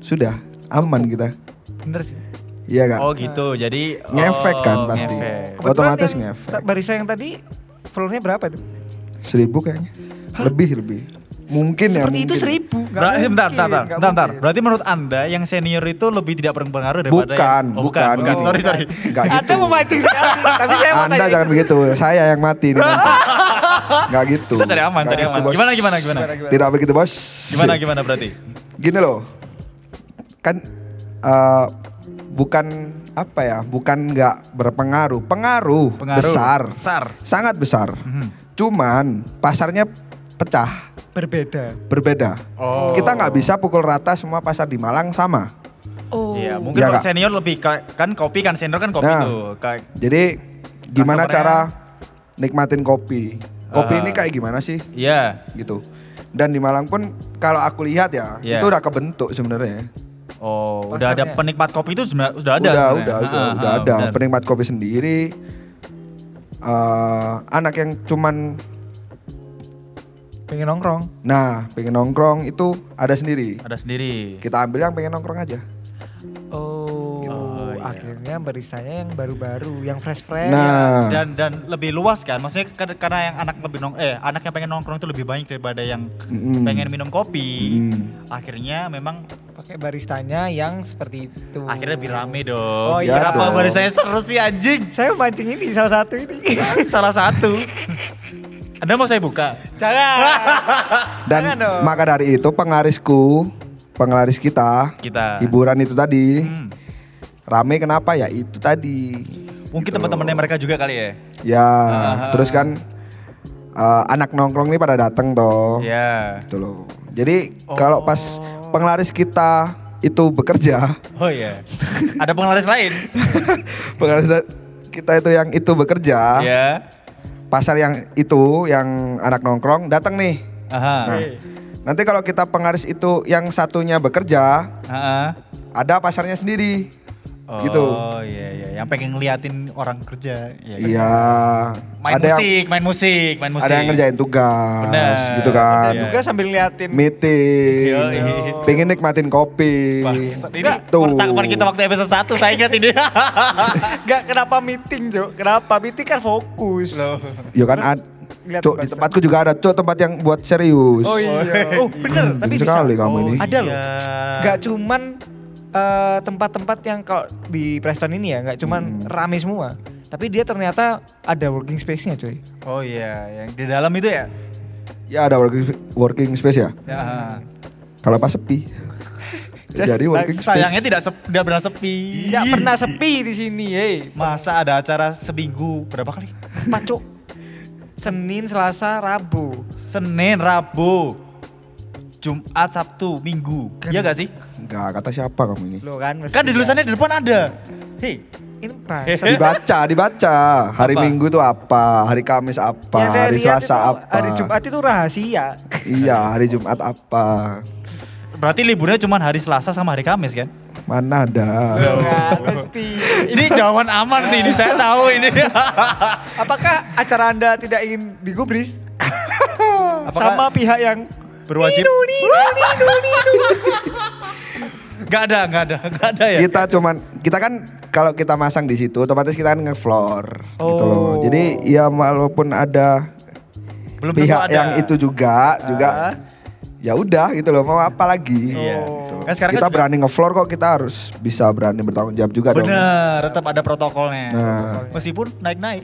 Speaker 3: sudah aman kita
Speaker 2: Bener sih.
Speaker 3: iya kak
Speaker 1: Oh gitu. Jadi oh,
Speaker 3: ngefek kan pasti
Speaker 1: ngefek.
Speaker 3: otomatis
Speaker 2: yang ta-
Speaker 3: ngefek
Speaker 2: Barisa yang tadi followernya berapa itu?
Speaker 3: seribu kayaknya lebih lebih mungkin ya
Speaker 2: Seperti itu
Speaker 3: mungkin.
Speaker 2: seribu. Nggak
Speaker 1: Berarti eh, bentar, bentar, bentar,
Speaker 2: mungkin, nggak
Speaker 1: bentar, bentar.
Speaker 2: mungkin.
Speaker 1: Berarti menurut Anda yang senior itu lebih tidak berpengaruh daripada
Speaker 3: Bukan,
Speaker 1: yang, oh, bukan,
Speaker 3: bukan,
Speaker 1: bukan.
Speaker 3: gitu.
Speaker 1: Sorry, sorry.
Speaker 3: Nggak gitu
Speaker 2: Anda memancing sekali, tapi saya mau
Speaker 3: anda
Speaker 2: tanya
Speaker 3: jangan
Speaker 2: itu.
Speaker 3: begitu saya yang mati ini nanti nggak gitu
Speaker 1: Kita cari aman,
Speaker 3: Nggak
Speaker 1: cari
Speaker 3: gitu,
Speaker 1: aman.
Speaker 3: bos.
Speaker 1: Gimana gimana gimana?
Speaker 3: tidak begitu bos
Speaker 1: Gimana gimana berarti?
Speaker 3: gini loh kan eh, bukan apa ya bukan nggak berpengaruh pengaruh,
Speaker 1: Pengaruh
Speaker 3: besar
Speaker 1: besar.
Speaker 3: sangat besar
Speaker 1: Mhm.
Speaker 3: cuman pasarnya pecah
Speaker 2: Berbeda.
Speaker 3: berbeda
Speaker 1: Oh.
Speaker 3: kita nggak bisa pukul rata semua pasar di Malang sama
Speaker 2: Oh.
Speaker 1: Iya, mungkin
Speaker 3: Iya,
Speaker 1: kalau
Speaker 3: Kak.
Speaker 1: senior lebih ka- kan kopi kan senior kan kopi
Speaker 3: Nah.
Speaker 1: tuh. Kayak
Speaker 3: jadi gimana
Speaker 1: Customernya-
Speaker 3: cara nikmatin kopi kopi
Speaker 1: Ah.
Speaker 3: ini kayak gimana sih
Speaker 1: iya.
Speaker 3: gitu dan di Malang pun kalau aku lihat ya
Speaker 1: Iya.
Speaker 3: itu udah kebentuk sebenarnya
Speaker 1: Oh, udah ada
Speaker 2: Pasarnya.
Speaker 1: penikmat kopi itu sebenarnya sudah ada.
Speaker 3: udah udah
Speaker 1: sebenarnya.
Speaker 3: udah
Speaker 1: Ah, ah,
Speaker 3: udah
Speaker 1: ah,
Speaker 3: ada
Speaker 1: benar.
Speaker 3: penikmat kopi sendiri Eh, anak yang cuman
Speaker 2: Pengen nongkrong.
Speaker 3: nah pengen nongkrong itu ada sendiri
Speaker 1: Ada sendiri.
Speaker 3: kita ambil yang pengen nongkrong aja
Speaker 2: Oh.
Speaker 1: Oh, iya.
Speaker 2: Akhirnya barisanya yang baru-baru, yang fresh-fresh.
Speaker 3: nah
Speaker 1: Dan dan lebih luas kan. Maksudnya kar- karena yang anak lebih nong eh anak yang pengen nongkrong itu lebih banyak daripada yang
Speaker 3: Mm-mm.
Speaker 1: pengen minum kopi.
Speaker 3: Mm.
Speaker 1: Akhirnya memang
Speaker 2: Pakai baristanya yang seperti itu.
Speaker 1: akhirnya lebih rame dong.
Speaker 2: Oh, iya
Speaker 1: Kenapa
Speaker 3: dong.
Speaker 1: baris saya terus sih anjing?
Speaker 2: Saya memancing ini salah satu ini.
Speaker 1: Salah satu. Anda mau saya buka?
Speaker 2: Jangan.
Speaker 3: Dan
Speaker 2: Jangan dong.
Speaker 3: maka dari itu penglarisku, penglaris kita,
Speaker 1: Kita.
Speaker 3: hiburan itu tadi
Speaker 1: Hmm.
Speaker 3: rame kenapa ya itu tadi.
Speaker 1: Mungkin
Speaker 3: Gitu.
Speaker 1: teman-temannya mereka juga kali ya.
Speaker 3: Ya,
Speaker 1: Ah.
Speaker 3: terus kan eh, anak nongkrong nih pada dateng toh.
Speaker 1: Iya.
Speaker 3: Gitu loh. Jadi kalau pas penglaris kita itu bekerja,
Speaker 1: Oh iya. Ada penglaris lain?
Speaker 3: penglaris da- kita itu yang itu bekerja,
Speaker 1: Iya.
Speaker 3: pasar yang itu yang anak nongkrong datang nih.
Speaker 1: Aha.
Speaker 3: Nah, nanti kalau kita penglaris itu yang satunya bekerja,
Speaker 1: Aha.
Speaker 3: ada pasarnya sendiri. Gitu.
Speaker 1: Oh iya iya, yang pengen ngeliatin orang kerja. Iya. kan?
Speaker 3: Iya.
Speaker 1: Main
Speaker 3: ada yang
Speaker 1: musik, main musik, main musik.
Speaker 3: ada yang ngerjain tugas
Speaker 1: Bener.
Speaker 3: gitu kan.
Speaker 1: Iya.
Speaker 2: Juga sambil liatin.
Speaker 3: Meeting.
Speaker 1: Yoi.
Speaker 3: Pengen nikmatin kopi. Gitu.
Speaker 1: Bangsat, ini
Speaker 3: Tuh.
Speaker 1: percakapan kita waktu episode 1 saya ingat ini.
Speaker 2: Enggak kenapa meeting, Jo? Kenapa meeting kan fokus.
Speaker 1: Loh.
Speaker 3: Yo kan ad-
Speaker 2: Lihat
Speaker 3: Cuk, di
Speaker 2: Barca.
Speaker 3: tempatku juga ada, Cuk, tempat yang buat serius.
Speaker 2: Oh iya. Oh bener, tapi bisa.
Speaker 3: sekali kamu ini.
Speaker 2: Ada loh.
Speaker 1: iya.
Speaker 2: Gak cuman eh, tempat-tempat yang kalau di Preston ini ya, gak cuman rame semua. Tapi dia ternyata ada working space-nya cuy.
Speaker 1: Oh iya, yang di dalam itu ya?
Speaker 3: Ya ada working, working space ya.
Speaker 1: Ya.
Speaker 3: Kalau pas sepi. Jadi working space.
Speaker 1: Nah, Sayangnya tidak sep, tidak pernah sepi.
Speaker 3: Iya.
Speaker 2: Gak pernah sepi di sini, hei.
Speaker 1: Masa ada acara seminggu berapa kali?
Speaker 2: Pacok. Senin, Selasa, Rabu.
Speaker 1: Senin, Rabu, Jumat, Sabtu, Minggu.
Speaker 3: Kan
Speaker 1: Iya gak sih?
Speaker 3: Enggak, kata siapa kamu ini?
Speaker 2: Lo kan mesti
Speaker 1: Kan di tulisannya di depan ada. Hei,
Speaker 2: Ini bangsa.
Speaker 3: Dibaca, dibaca. Hari
Speaker 1: Iya. Apa? Iya,
Speaker 3: Minggu tuh apa? Hari Kamis apa?
Speaker 2: Yang saya
Speaker 3: hari
Speaker 2: lihat
Speaker 3: Selasa
Speaker 2: itu,
Speaker 3: apa?
Speaker 2: Hari Jumat itu rahasia.
Speaker 3: Iya, hari Jumat apa?
Speaker 1: berarti liburnya cuma hari Selasa sama hari Kamis kan?
Speaker 3: Mana ada?
Speaker 1: Iya, Oh.
Speaker 2: Kan
Speaker 3: Iya.
Speaker 2: mesti.
Speaker 1: Ini jawaban aman sih, ini saya tahu ini.
Speaker 2: Apakah acara Anda tidak ingin digubris? Sama
Speaker 1: Apakah-
Speaker 2: pihak yang
Speaker 1: Berwajib. Gak ada, gak ada, gak ada ya.
Speaker 3: Kita cuman kita kan kalau kita masang di situ otomatis kita kan nge-floor gitu loh.
Speaker 2: Oh.
Speaker 3: Jadi ya walaupun ada
Speaker 1: Belum tentu
Speaker 3: pihak
Speaker 1: ada. Ah.
Speaker 3: yang itu juga juga ya udah gitu loh mau apa lagi
Speaker 1: Iya.
Speaker 3: gitu.
Speaker 1: Kan sekarang
Speaker 3: kita
Speaker 1: kan-
Speaker 3: berani nge-floor kok kita harus bisa berani bertanggung jawab juga dong
Speaker 1: Bener, tetap ada protokolnya.
Speaker 3: Nah.
Speaker 1: Meskipun naik-naik.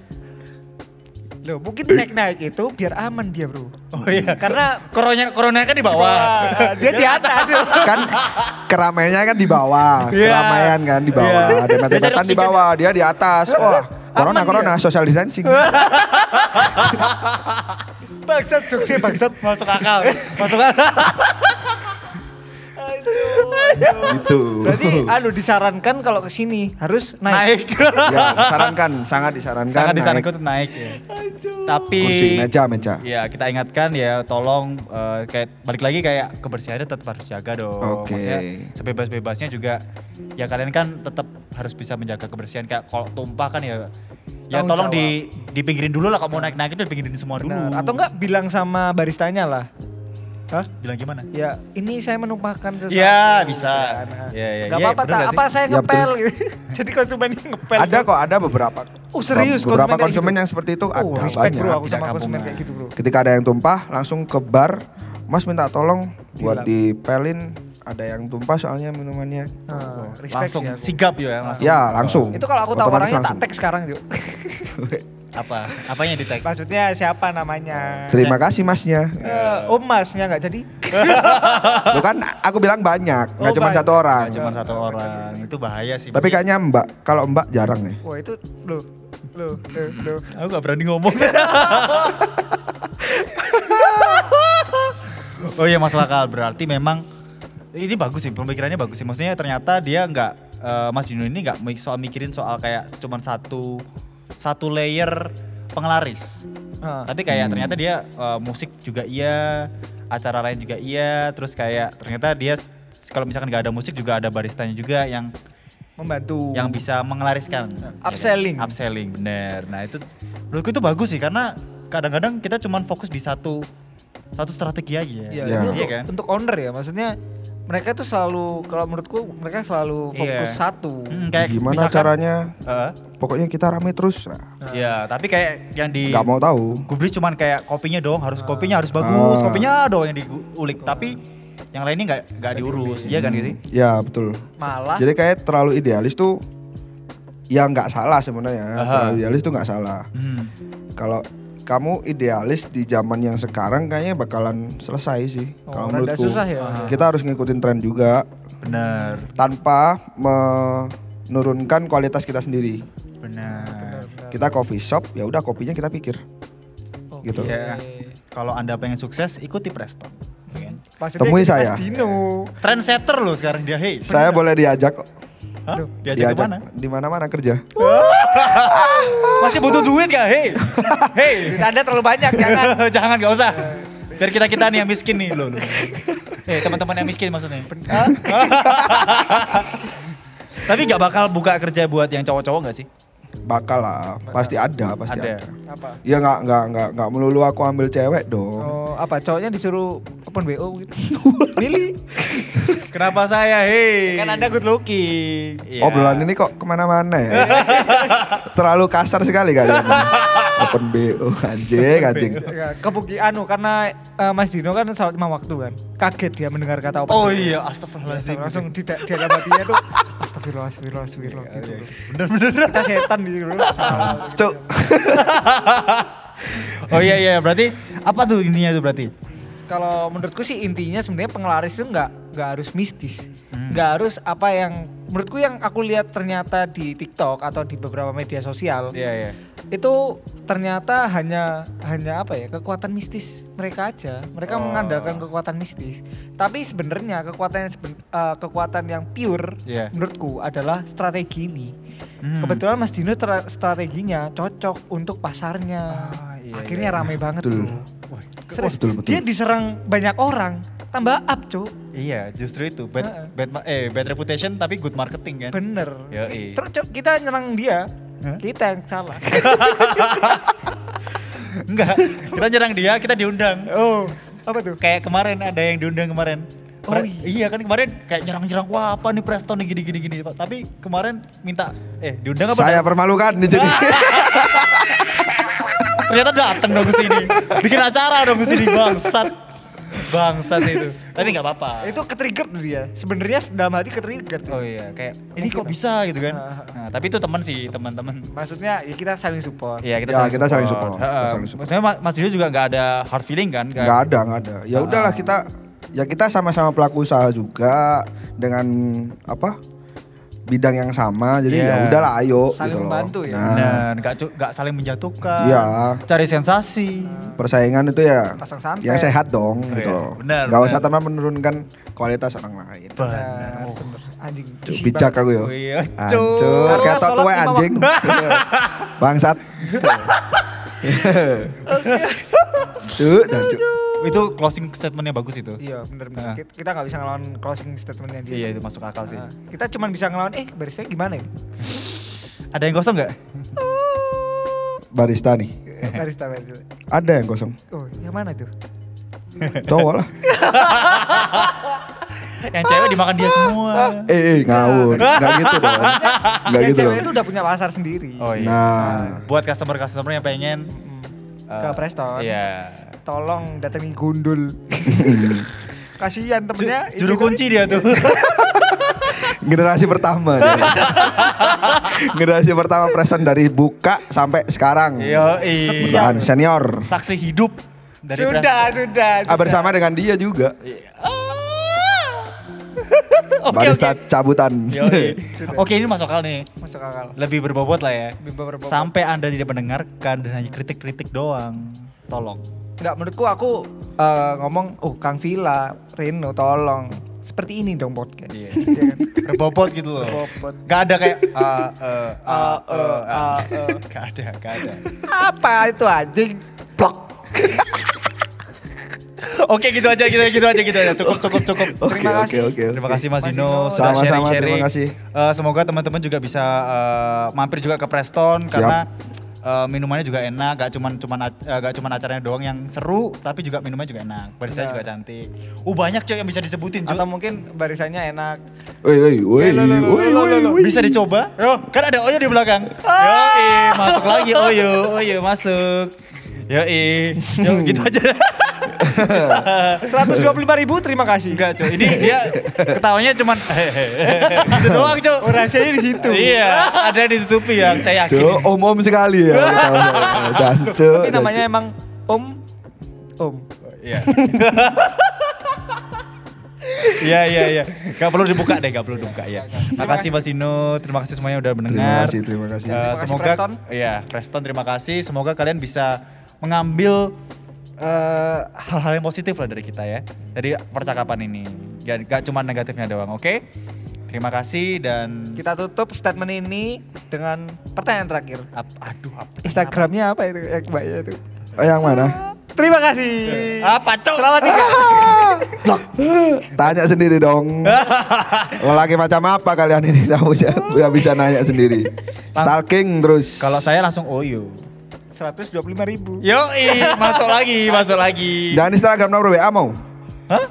Speaker 2: Loh, mungkin naik-naik itu biar aman dia, Bro.
Speaker 1: Oh iya.
Speaker 2: Karena
Speaker 1: Corona, corona kan di bawah.
Speaker 2: Wah, dia di atas.
Speaker 3: kan keramaiannya kan di bawah
Speaker 1: Iya.
Speaker 3: keramaian kan di bawah
Speaker 1: Iya. Dia
Speaker 3: debat-debatan
Speaker 1: cari
Speaker 3: di bawah dia di atas wah corona
Speaker 2: dia.
Speaker 3: corona social distancing
Speaker 2: bangsat Jogja bangsat.
Speaker 1: Masuk akal. Masuk akal.
Speaker 3: gitu
Speaker 2: Berarti anu disarankan kalau ke sini harus naik.
Speaker 1: Naik.
Speaker 3: ya sarankan sangat disarankan
Speaker 1: Sangat disana
Speaker 3: Kan naik
Speaker 1: ikut naik ya. Tapi
Speaker 3: kursi meja meja
Speaker 1: Ya kita ingatkan ya tolong eh, kayak balik lagi kayak kebersihannya tetap harus jaga dong.
Speaker 3: Oke.
Speaker 1: Maksudnya sebebas-bebasnya juga ya kalian kan tetap harus bisa menjaga kebersihan kayak kalau tumpah kan ya ya
Speaker 2: Tanggung
Speaker 1: tolong di di pinggirin dulu lah kalau mau naik-naik itu dipinggirin semua dulu.
Speaker 2: Benar. Atau enggak bilang sama baristanya lah. Hah?
Speaker 1: bilang gimana?
Speaker 2: Ya, ini saya menumpahkan sesuatu.
Speaker 1: Iya, bisa. Iya,
Speaker 2: Iya,
Speaker 1: iya,
Speaker 2: iya.
Speaker 1: iya,
Speaker 2: apa-apa,
Speaker 1: bener
Speaker 2: tak
Speaker 1: nggak
Speaker 2: apa
Speaker 1: sih?
Speaker 2: saya
Speaker 3: Iya,
Speaker 2: ngepel gitu. Jadi konsumennya ngepel.
Speaker 3: ada kok ada beberapa
Speaker 2: Oh, serius konsumen
Speaker 3: beberapa
Speaker 2: kayak
Speaker 3: konsumen
Speaker 2: gitu?
Speaker 3: yang seperti itu ada
Speaker 2: Oh, respect
Speaker 3: banyak
Speaker 2: bro aku
Speaker 1: Tidak
Speaker 2: sama konsumen
Speaker 1: kampungan.
Speaker 2: kayak gitu, Bro.
Speaker 3: Ketika ada yang tumpah, langsung ke bar. Mas minta tolong
Speaker 2: Dilap.
Speaker 3: buat dipelin. Ada yang tumpah soalnya minumannya.
Speaker 2: Nah, respect
Speaker 1: Langsung
Speaker 2: sih aku.
Speaker 1: sigap ya langsung.
Speaker 3: Ya langsung.
Speaker 2: Itu kalau aku tahu
Speaker 3: Otomatis
Speaker 2: orangnya tak
Speaker 3: langsung.
Speaker 2: tag sekarang, Yuk.
Speaker 1: Apa? Apanya di tag?
Speaker 2: Maksudnya siapa namanya?
Speaker 3: Terima kasih masnya.
Speaker 2: Eh, Om Masnya nggak jadi?
Speaker 3: Lo kan aku bilang banyak, nggak
Speaker 2: Oh,
Speaker 3: cuma
Speaker 2: banyak.
Speaker 3: satu orang.
Speaker 1: Nggak cuma satu orang. Itu bahaya sih.
Speaker 3: Tapi kayaknya Mbak, kalau Mbak jarang nih.
Speaker 2: Wah, itu lo lo lo
Speaker 1: aku gak berani ngomong. oh iya Mas Wakal, berarti memang ini bagus sih pemikirannya bagus sih. Maksudnya ternyata dia nggak eh, Mas Juno ini nggak mik- soal mikirin soal kayak cuman satu satu layer penglaris.
Speaker 2: Ah.
Speaker 1: Tapi kayak ternyata dia eh, musik juga iya, acara lain juga iya, terus kayak ternyata dia s- kalau misalkan nggak ada musik juga ada baristanya juga yang
Speaker 2: membantu.
Speaker 1: yang bisa mengelariskan ya kan?
Speaker 2: Upselling.
Speaker 1: upselling bener nah itu menurutku itu bagus sih karena kadang-kadang kita cuman fokus di satu satu strategi aja
Speaker 2: Iya,
Speaker 3: Ya.
Speaker 2: ini
Speaker 1: Iya
Speaker 2: untuk,
Speaker 1: kan
Speaker 2: untuk owner ya, maksudnya mereka tuh selalu kalau menurutku mereka selalu fokus
Speaker 1: Iya.
Speaker 2: satu.
Speaker 1: Hmm,
Speaker 3: Gimana
Speaker 1: misalkan-
Speaker 3: caranya?
Speaker 1: Heeh.
Speaker 3: Pokoknya kita rame terus. Nah,
Speaker 1: Iya, tapi kayak yang di
Speaker 3: Nggak mau tahu.
Speaker 1: Gubris cuman kayak kopinya dong, harus kopinya harus bagus,
Speaker 3: Ah.
Speaker 1: kopinya dong yang diulik, tapi yang lainnya nggak nggak diurus, iya kan gitu?
Speaker 3: Ya betul.
Speaker 2: Malah
Speaker 3: Jadi kayak terlalu idealis tuh, ya nggak salah sebenarnya.
Speaker 1: Aha.
Speaker 3: Terlalu idealis tuh nggak salah.
Speaker 1: Hmm.
Speaker 3: kalau kamu idealis di zaman yang sekarang kayaknya bakalan selesai sih
Speaker 2: Oh,
Speaker 3: kalau
Speaker 2: rada
Speaker 3: menurutku
Speaker 2: susah ya.
Speaker 3: kita harus ngikutin tren juga
Speaker 1: Bener,
Speaker 3: tanpa menurunkan kualitas kita sendiri
Speaker 1: bener.
Speaker 3: kita coffee shop ya udah kopinya kita pikir
Speaker 2: Oke.
Speaker 3: gitu
Speaker 1: Iya. Kalau anda pengen sukses, ikuti Preston. Iya kan?
Speaker 2: maksudnya
Speaker 3: Temui
Speaker 2: kita
Speaker 3: saya.
Speaker 2: Mas Dino.
Speaker 1: Trendsetter loh sekarang dia, hey.
Speaker 3: saya boleh diajak kok.
Speaker 1: Hah? Diajak kemana?
Speaker 3: di mana-mana kerja
Speaker 1: Masih butuh duit gak? Hei, hei,
Speaker 2: Duit Anda terlalu banyak jangan.
Speaker 1: jangan gak usah. Biar kita kita nih yang miskin nih loh. loh. Eh teman-teman yang miskin maksudnya. Tapi gak bakal buka kerja buat yang cowok-cowok gak sih?
Speaker 3: bakal lah pasti ada pasti
Speaker 1: Ada.
Speaker 3: ada,
Speaker 2: Apa?
Speaker 3: ya nggak nggak nggak nggak melulu aku ambil cewek dong
Speaker 2: Oh, apa cowoknya disuruh open BO gitu. Milih.
Speaker 1: Kenapa saya? Hei.
Speaker 2: Kan Anda good looking.
Speaker 1: Iya.
Speaker 3: Oh, obrolan ini kok kemana-mana ya terlalu kasar sekali kali ini. Open BO anjing anjing.
Speaker 2: Ya, kebuki anu karena eh, Mas Dino kan salat lima waktu kan. Kaget dia mendengar kata open
Speaker 1: Oh
Speaker 2: BO.
Speaker 1: iya, astagfirullahaladzim.
Speaker 2: langsung tidak dia dalam hatinya tuh astagfirullah
Speaker 1: Iya,
Speaker 2: astagfirullah astagfirullah gitu. bro.
Speaker 1: Bener-bener.
Speaker 2: Kita setan gitu bro.
Speaker 3: Cuk.
Speaker 1: Oh iya iya, berarti apa tuh intinya tuh berarti?
Speaker 2: Kalau menurutku sih intinya sebenarnya penglaris itu nggak nggak harus mistis,
Speaker 1: Hmm.
Speaker 2: nggak harus apa yang menurutku yang aku lihat ternyata di TikTok atau di beberapa media sosial
Speaker 1: Iya iya.
Speaker 2: itu ternyata hanya hanya apa ya kekuatan mistis mereka aja mereka
Speaker 1: Oh.
Speaker 2: mengandalkan kekuatan mistis tapi sebenarnya kekuatan yang seben- eh, kekuatan yang pure
Speaker 1: Iya.
Speaker 2: menurutku adalah strategi ini
Speaker 1: Hmm.
Speaker 2: kebetulan Mas Dino tra- strateginya cocok untuk pasarnya
Speaker 1: Ah, iya,
Speaker 2: akhirnya
Speaker 1: iya.
Speaker 2: rame banget
Speaker 3: Betul.
Speaker 2: tuh Serius,
Speaker 3: betul, betul.
Speaker 2: dia diserang banyak orang tambah up cuk
Speaker 1: Iya, justru itu
Speaker 2: Heeh.
Speaker 1: bad, bad ma- eh bad reputation tapi good marketing kan.
Speaker 2: bener
Speaker 1: Yoi.
Speaker 2: terus Cuk, kita nyerang dia
Speaker 1: Hah?
Speaker 2: kita yang salah
Speaker 1: Enggak, kita nyerang dia, kita diundang.
Speaker 2: oh apa tuh
Speaker 1: Kayak kemarin ada yang diundang kemarin.
Speaker 2: Oh
Speaker 1: Kemarin- iya. kan kemarin kayak nyerang-nyerang wah apa nih Preston nih gini gini gini Pak. Tapi kemarin minta eh diundang apa?
Speaker 3: Saya
Speaker 1: datang?
Speaker 3: permalukan nih jadi.
Speaker 1: Ternyata datang dong ke sini. Bikin acara dong ke sini bangsat. Bangsat itu. Tapi nggak apa-apa.
Speaker 2: itu ketrigger tuh dia sebenarnya dalam hati ketrigger tuh.
Speaker 1: Oh iya, kayak ini kok bisa gitu
Speaker 3: Ah,
Speaker 1: kan. Nah, tapi itu teman sih, teman-teman.
Speaker 2: maksudnya ya kita saling support
Speaker 1: Iya, kita
Speaker 3: Ya, kita saling support, kita
Speaker 1: Heeh.
Speaker 3: saling support.
Speaker 1: Maksudnya Mas- Mas Yudo juga nggak ada hard feeling kan? Nggak-
Speaker 3: Nggak ada, nggak ada.
Speaker 1: Ah.
Speaker 3: Ya udahlah kita ya kita sama-sama pelaku usaha juga dengan apa? bidang yang sama. Jadi
Speaker 1: Iya.
Speaker 3: ya udahlah ayo
Speaker 2: Saling
Speaker 3: gitu loh.
Speaker 2: membantu ya.
Speaker 3: Nah,
Speaker 1: Bener, nggak cu- nggak saling menjatuhkan.
Speaker 3: Iya.
Speaker 1: Cari sensasi.
Speaker 3: persaingan itu ya
Speaker 2: Pasang santet.
Speaker 3: yang sehat dong gitu
Speaker 1: Iya,
Speaker 3: loh.
Speaker 1: benar,
Speaker 3: Nggak
Speaker 1: benar.
Speaker 3: usah teman menurunkan kualitas orang lain.
Speaker 1: Bener. Oh,
Speaker 2: Nah, anjing
Speaker 3: Cuk,
Speaker 2: isi
Speaker 3: bijak
Speaker 2: banget.
Speaker 3: aku yo.
Speaker 1: Iya, cuk.
Speaker 3: Ancur,
Speaker 2: Oh Karena
Speaker 3: ketok
Speaker 2: sholat
Speaker 3: gue
Speaker 2: lima
Speaker 3: anjing. Iya. Bangsat. Cuk, dah, cuk.
Speaker 1: Itu closing statementnya bagus itu.
Speaker 2: iya bener
Speaker 1: Nah.
Speaker 2: bener Ki- kita nggak bisa ngelawan closing statementnya dia
Speaker 1: Iya, itu masuk akal sih.
Speaker 2: Nah, kita cuma bisa ngelawan eh barisnya gimana ini
Speaker 1: Ada yang kosong nggak?
Speaker 3: Barista nih.
Speaker 2: barista barista
Speaker 3: Ada yang kosong.
Speaker 2: gitu. oh yang mana tuh
Speaker 3: Cowok lah.
Speaker 1: yang cewek dimakan dia semua.
Speaker 3: Eh, eh ngawur. Enggak gitu dong. Enggak
Speaker 2: Ah, yang
Speaker 3: gitu
Speaker 2: cewek
Speaker 3: dong.
Speaker 2: itu udah punya pasar sendiri
Speaker 1: Oh iya.
Speaker 3: Nah,
Speaker 1: Buat customer-customer yang pengen
Speaker 2: Mm. ke
Speaker 1: eh,
Speaker 2: Preston
Speaker 1: Iya.
Speaker 2: tolong datangi gundul kasihan
Speaker 1: Ju-
Speaker 2: temennya ini
Speaker 1: Juru
Speaker 2: tuh.
Speaker 1: kunci dia tuh.
Speaker 3: generasi pertama. dia. generasi pertama present dari buka sampai sekarang.
Speaker 1: Yo, iya.
Speaker 3: Bertahan senior.
Speaker 1: Saksi hidup dari
Speaker 2: sudah
Speaker 1: Preston.
Speaker 2: sudah
Speaker 3: Ah, bersama dengan dia juga.
Speaker 1: Iya. Ah. Oke,
Speaker 3: Barista
Speaker 1: oke.
Speaker 3: cabutan.
Speaker 1: Yoi. Oke, ini masuk akal nih.
Speaker 2: masuk akal
Speaker 1: Lebih berbobot lah ya.
Speaker 2: Lebih berbobot.
Speaker 1: Sampai Anda tidak mendengarkan dan hanya kritik-kritik doang. Tolong.
Speaker 2: Enggak menurutku aku eh, ngomong oh Kang Vila, Reno tolong. Seperti ini dong podcast.
Speaker 1: Iya.
Speaker 2: Iya kan?
Speaker 1: Berbobot gitu loh.
Speaker 2: Berbobot.
Speaker 1: Gak ada kayak ah, eh, ah,
Speaker 3: E,
Speaker 2: Ah, eh,
Speaker 1: eh, ah.
Speaker 2: ah, eh.
Speaker 1: Gak ada, gak ada.
Speaker 2: Apa itu anjing? Blok.
Speaker 1: Oke, gitu aja, gitu aja, gitu aja, gitu aja. Cukup, cukup, cukup.
Speaker 3: Oke,
Speaker 2: Terima
Speaker 3: oke,
Speaker 2: kasih.
Speaker 3: oke.
Speaker 1: Terima kasih Mas
Speaker 2: Mas
Speaker 1: Dino
Speaker 2: Dino.
Speaker 1: sudah
Speaker 3: Sama-sama,
Speaker 1: sharing-sharing.
Speaker 3: terima kasih.
Speaker 1: Eh, semoga teman-teman juga bisa eh, mampir juga ke Preston karena eh, minumannya juga enak, gak cuman cuman ac- eh, gak cuman acaranya doang yang seru, tapi juga minumannya juga enak. Barista
Speaker 2: Benar.
Speaker 1: juga cantik. Uh banyak cuy yang bisa disebutin cuy.
Speaker 2: Atau mungkin barisannya enak.
Speaker 3: Woi, woi, woi,
Speaker 2: Eh, lo, lo, lo,
Speaker 3: woi,
Speaker 2: lo, lo,
Speaker 3: woi,
Speaker 2: lo.
Speaker 3: woi.
Speaker 1: Bisa dicoba? Kan ada Oyo di belakang.
Speaker 2: Ah.
Speaker 1: Yoi, masuk lagi Oyo, Oyo masuk. Yoi, yuk gitu aja.
Speaker 2: 125 ribu terima kasih.
Speaker 1: Enggak cuy, ini dia ketawanya cuman gitu doang cuy.
Speaker 2: Oh, rahasianya di situ.
Speaker 1: Iya, ada yang ditutupi yang saya yakin.
Speaker 3: Cuk, om-om sekali ya. Dan cuk.
Speaker 2: Tapi
Speaker 3: dan
Speaker 2: namanya
Speaker 3: cuk.
Speaker 2: emang Om Om.
Speaker 1: Iya. Iya iya iya. Gak perlu dibuka deh, gak perlu dibuka ya. Terima kasih Mas Ino, terima kasih semuanya udah mendengar.
Speaker 3: Terima kasih, terima kasih.
Speaker 1: Eh,
Speaker 3: Terima
Speaker 2: kasih,
Speaker 1: semoga
Speaker 2: Preston.
Speaker 1: Iya, Preston terima kasih. Semoga kalian bisa mengambil eh, hal-hal yang positif lah dari kita ya. Dari percakapan ini. Ya, gak cuma negatifnya doang, oke? Terima kasih dan
Speaker 2: Kita tutup statement ini dengan pertanyaan terakhir.
Speaker 1: Ap- aduh apa?
Speaker 2: Instagramnya apa itu? Yang mbaknya itu.
Speaker 3: Oh, yang mana?
Speaker 2: Terima kasih.
Speaker 1: Apa, Cok?
Speaker 2: Selamat tinggal.
Speaker 3: Tanya sendiri dong. Lo lagi macam apa kalian ini tahu ya? Gak bisa nanya sendiri. Stalking terus.
Speaker 1: Kalau saya langsung oyo.
Speaker 2: 125 ribu.
Speaker 1: Yoi, masuk lagi, masuk lagi.
Speaker 3: Jangan Instagram nomor WA mau.
Speaker 1: Hah?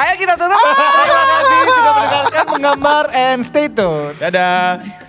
Speaker 2: Ayo kita tutup. Terima kasih sudah mendengarkan menggambar and stay tune.
Speaker 1: Dadah.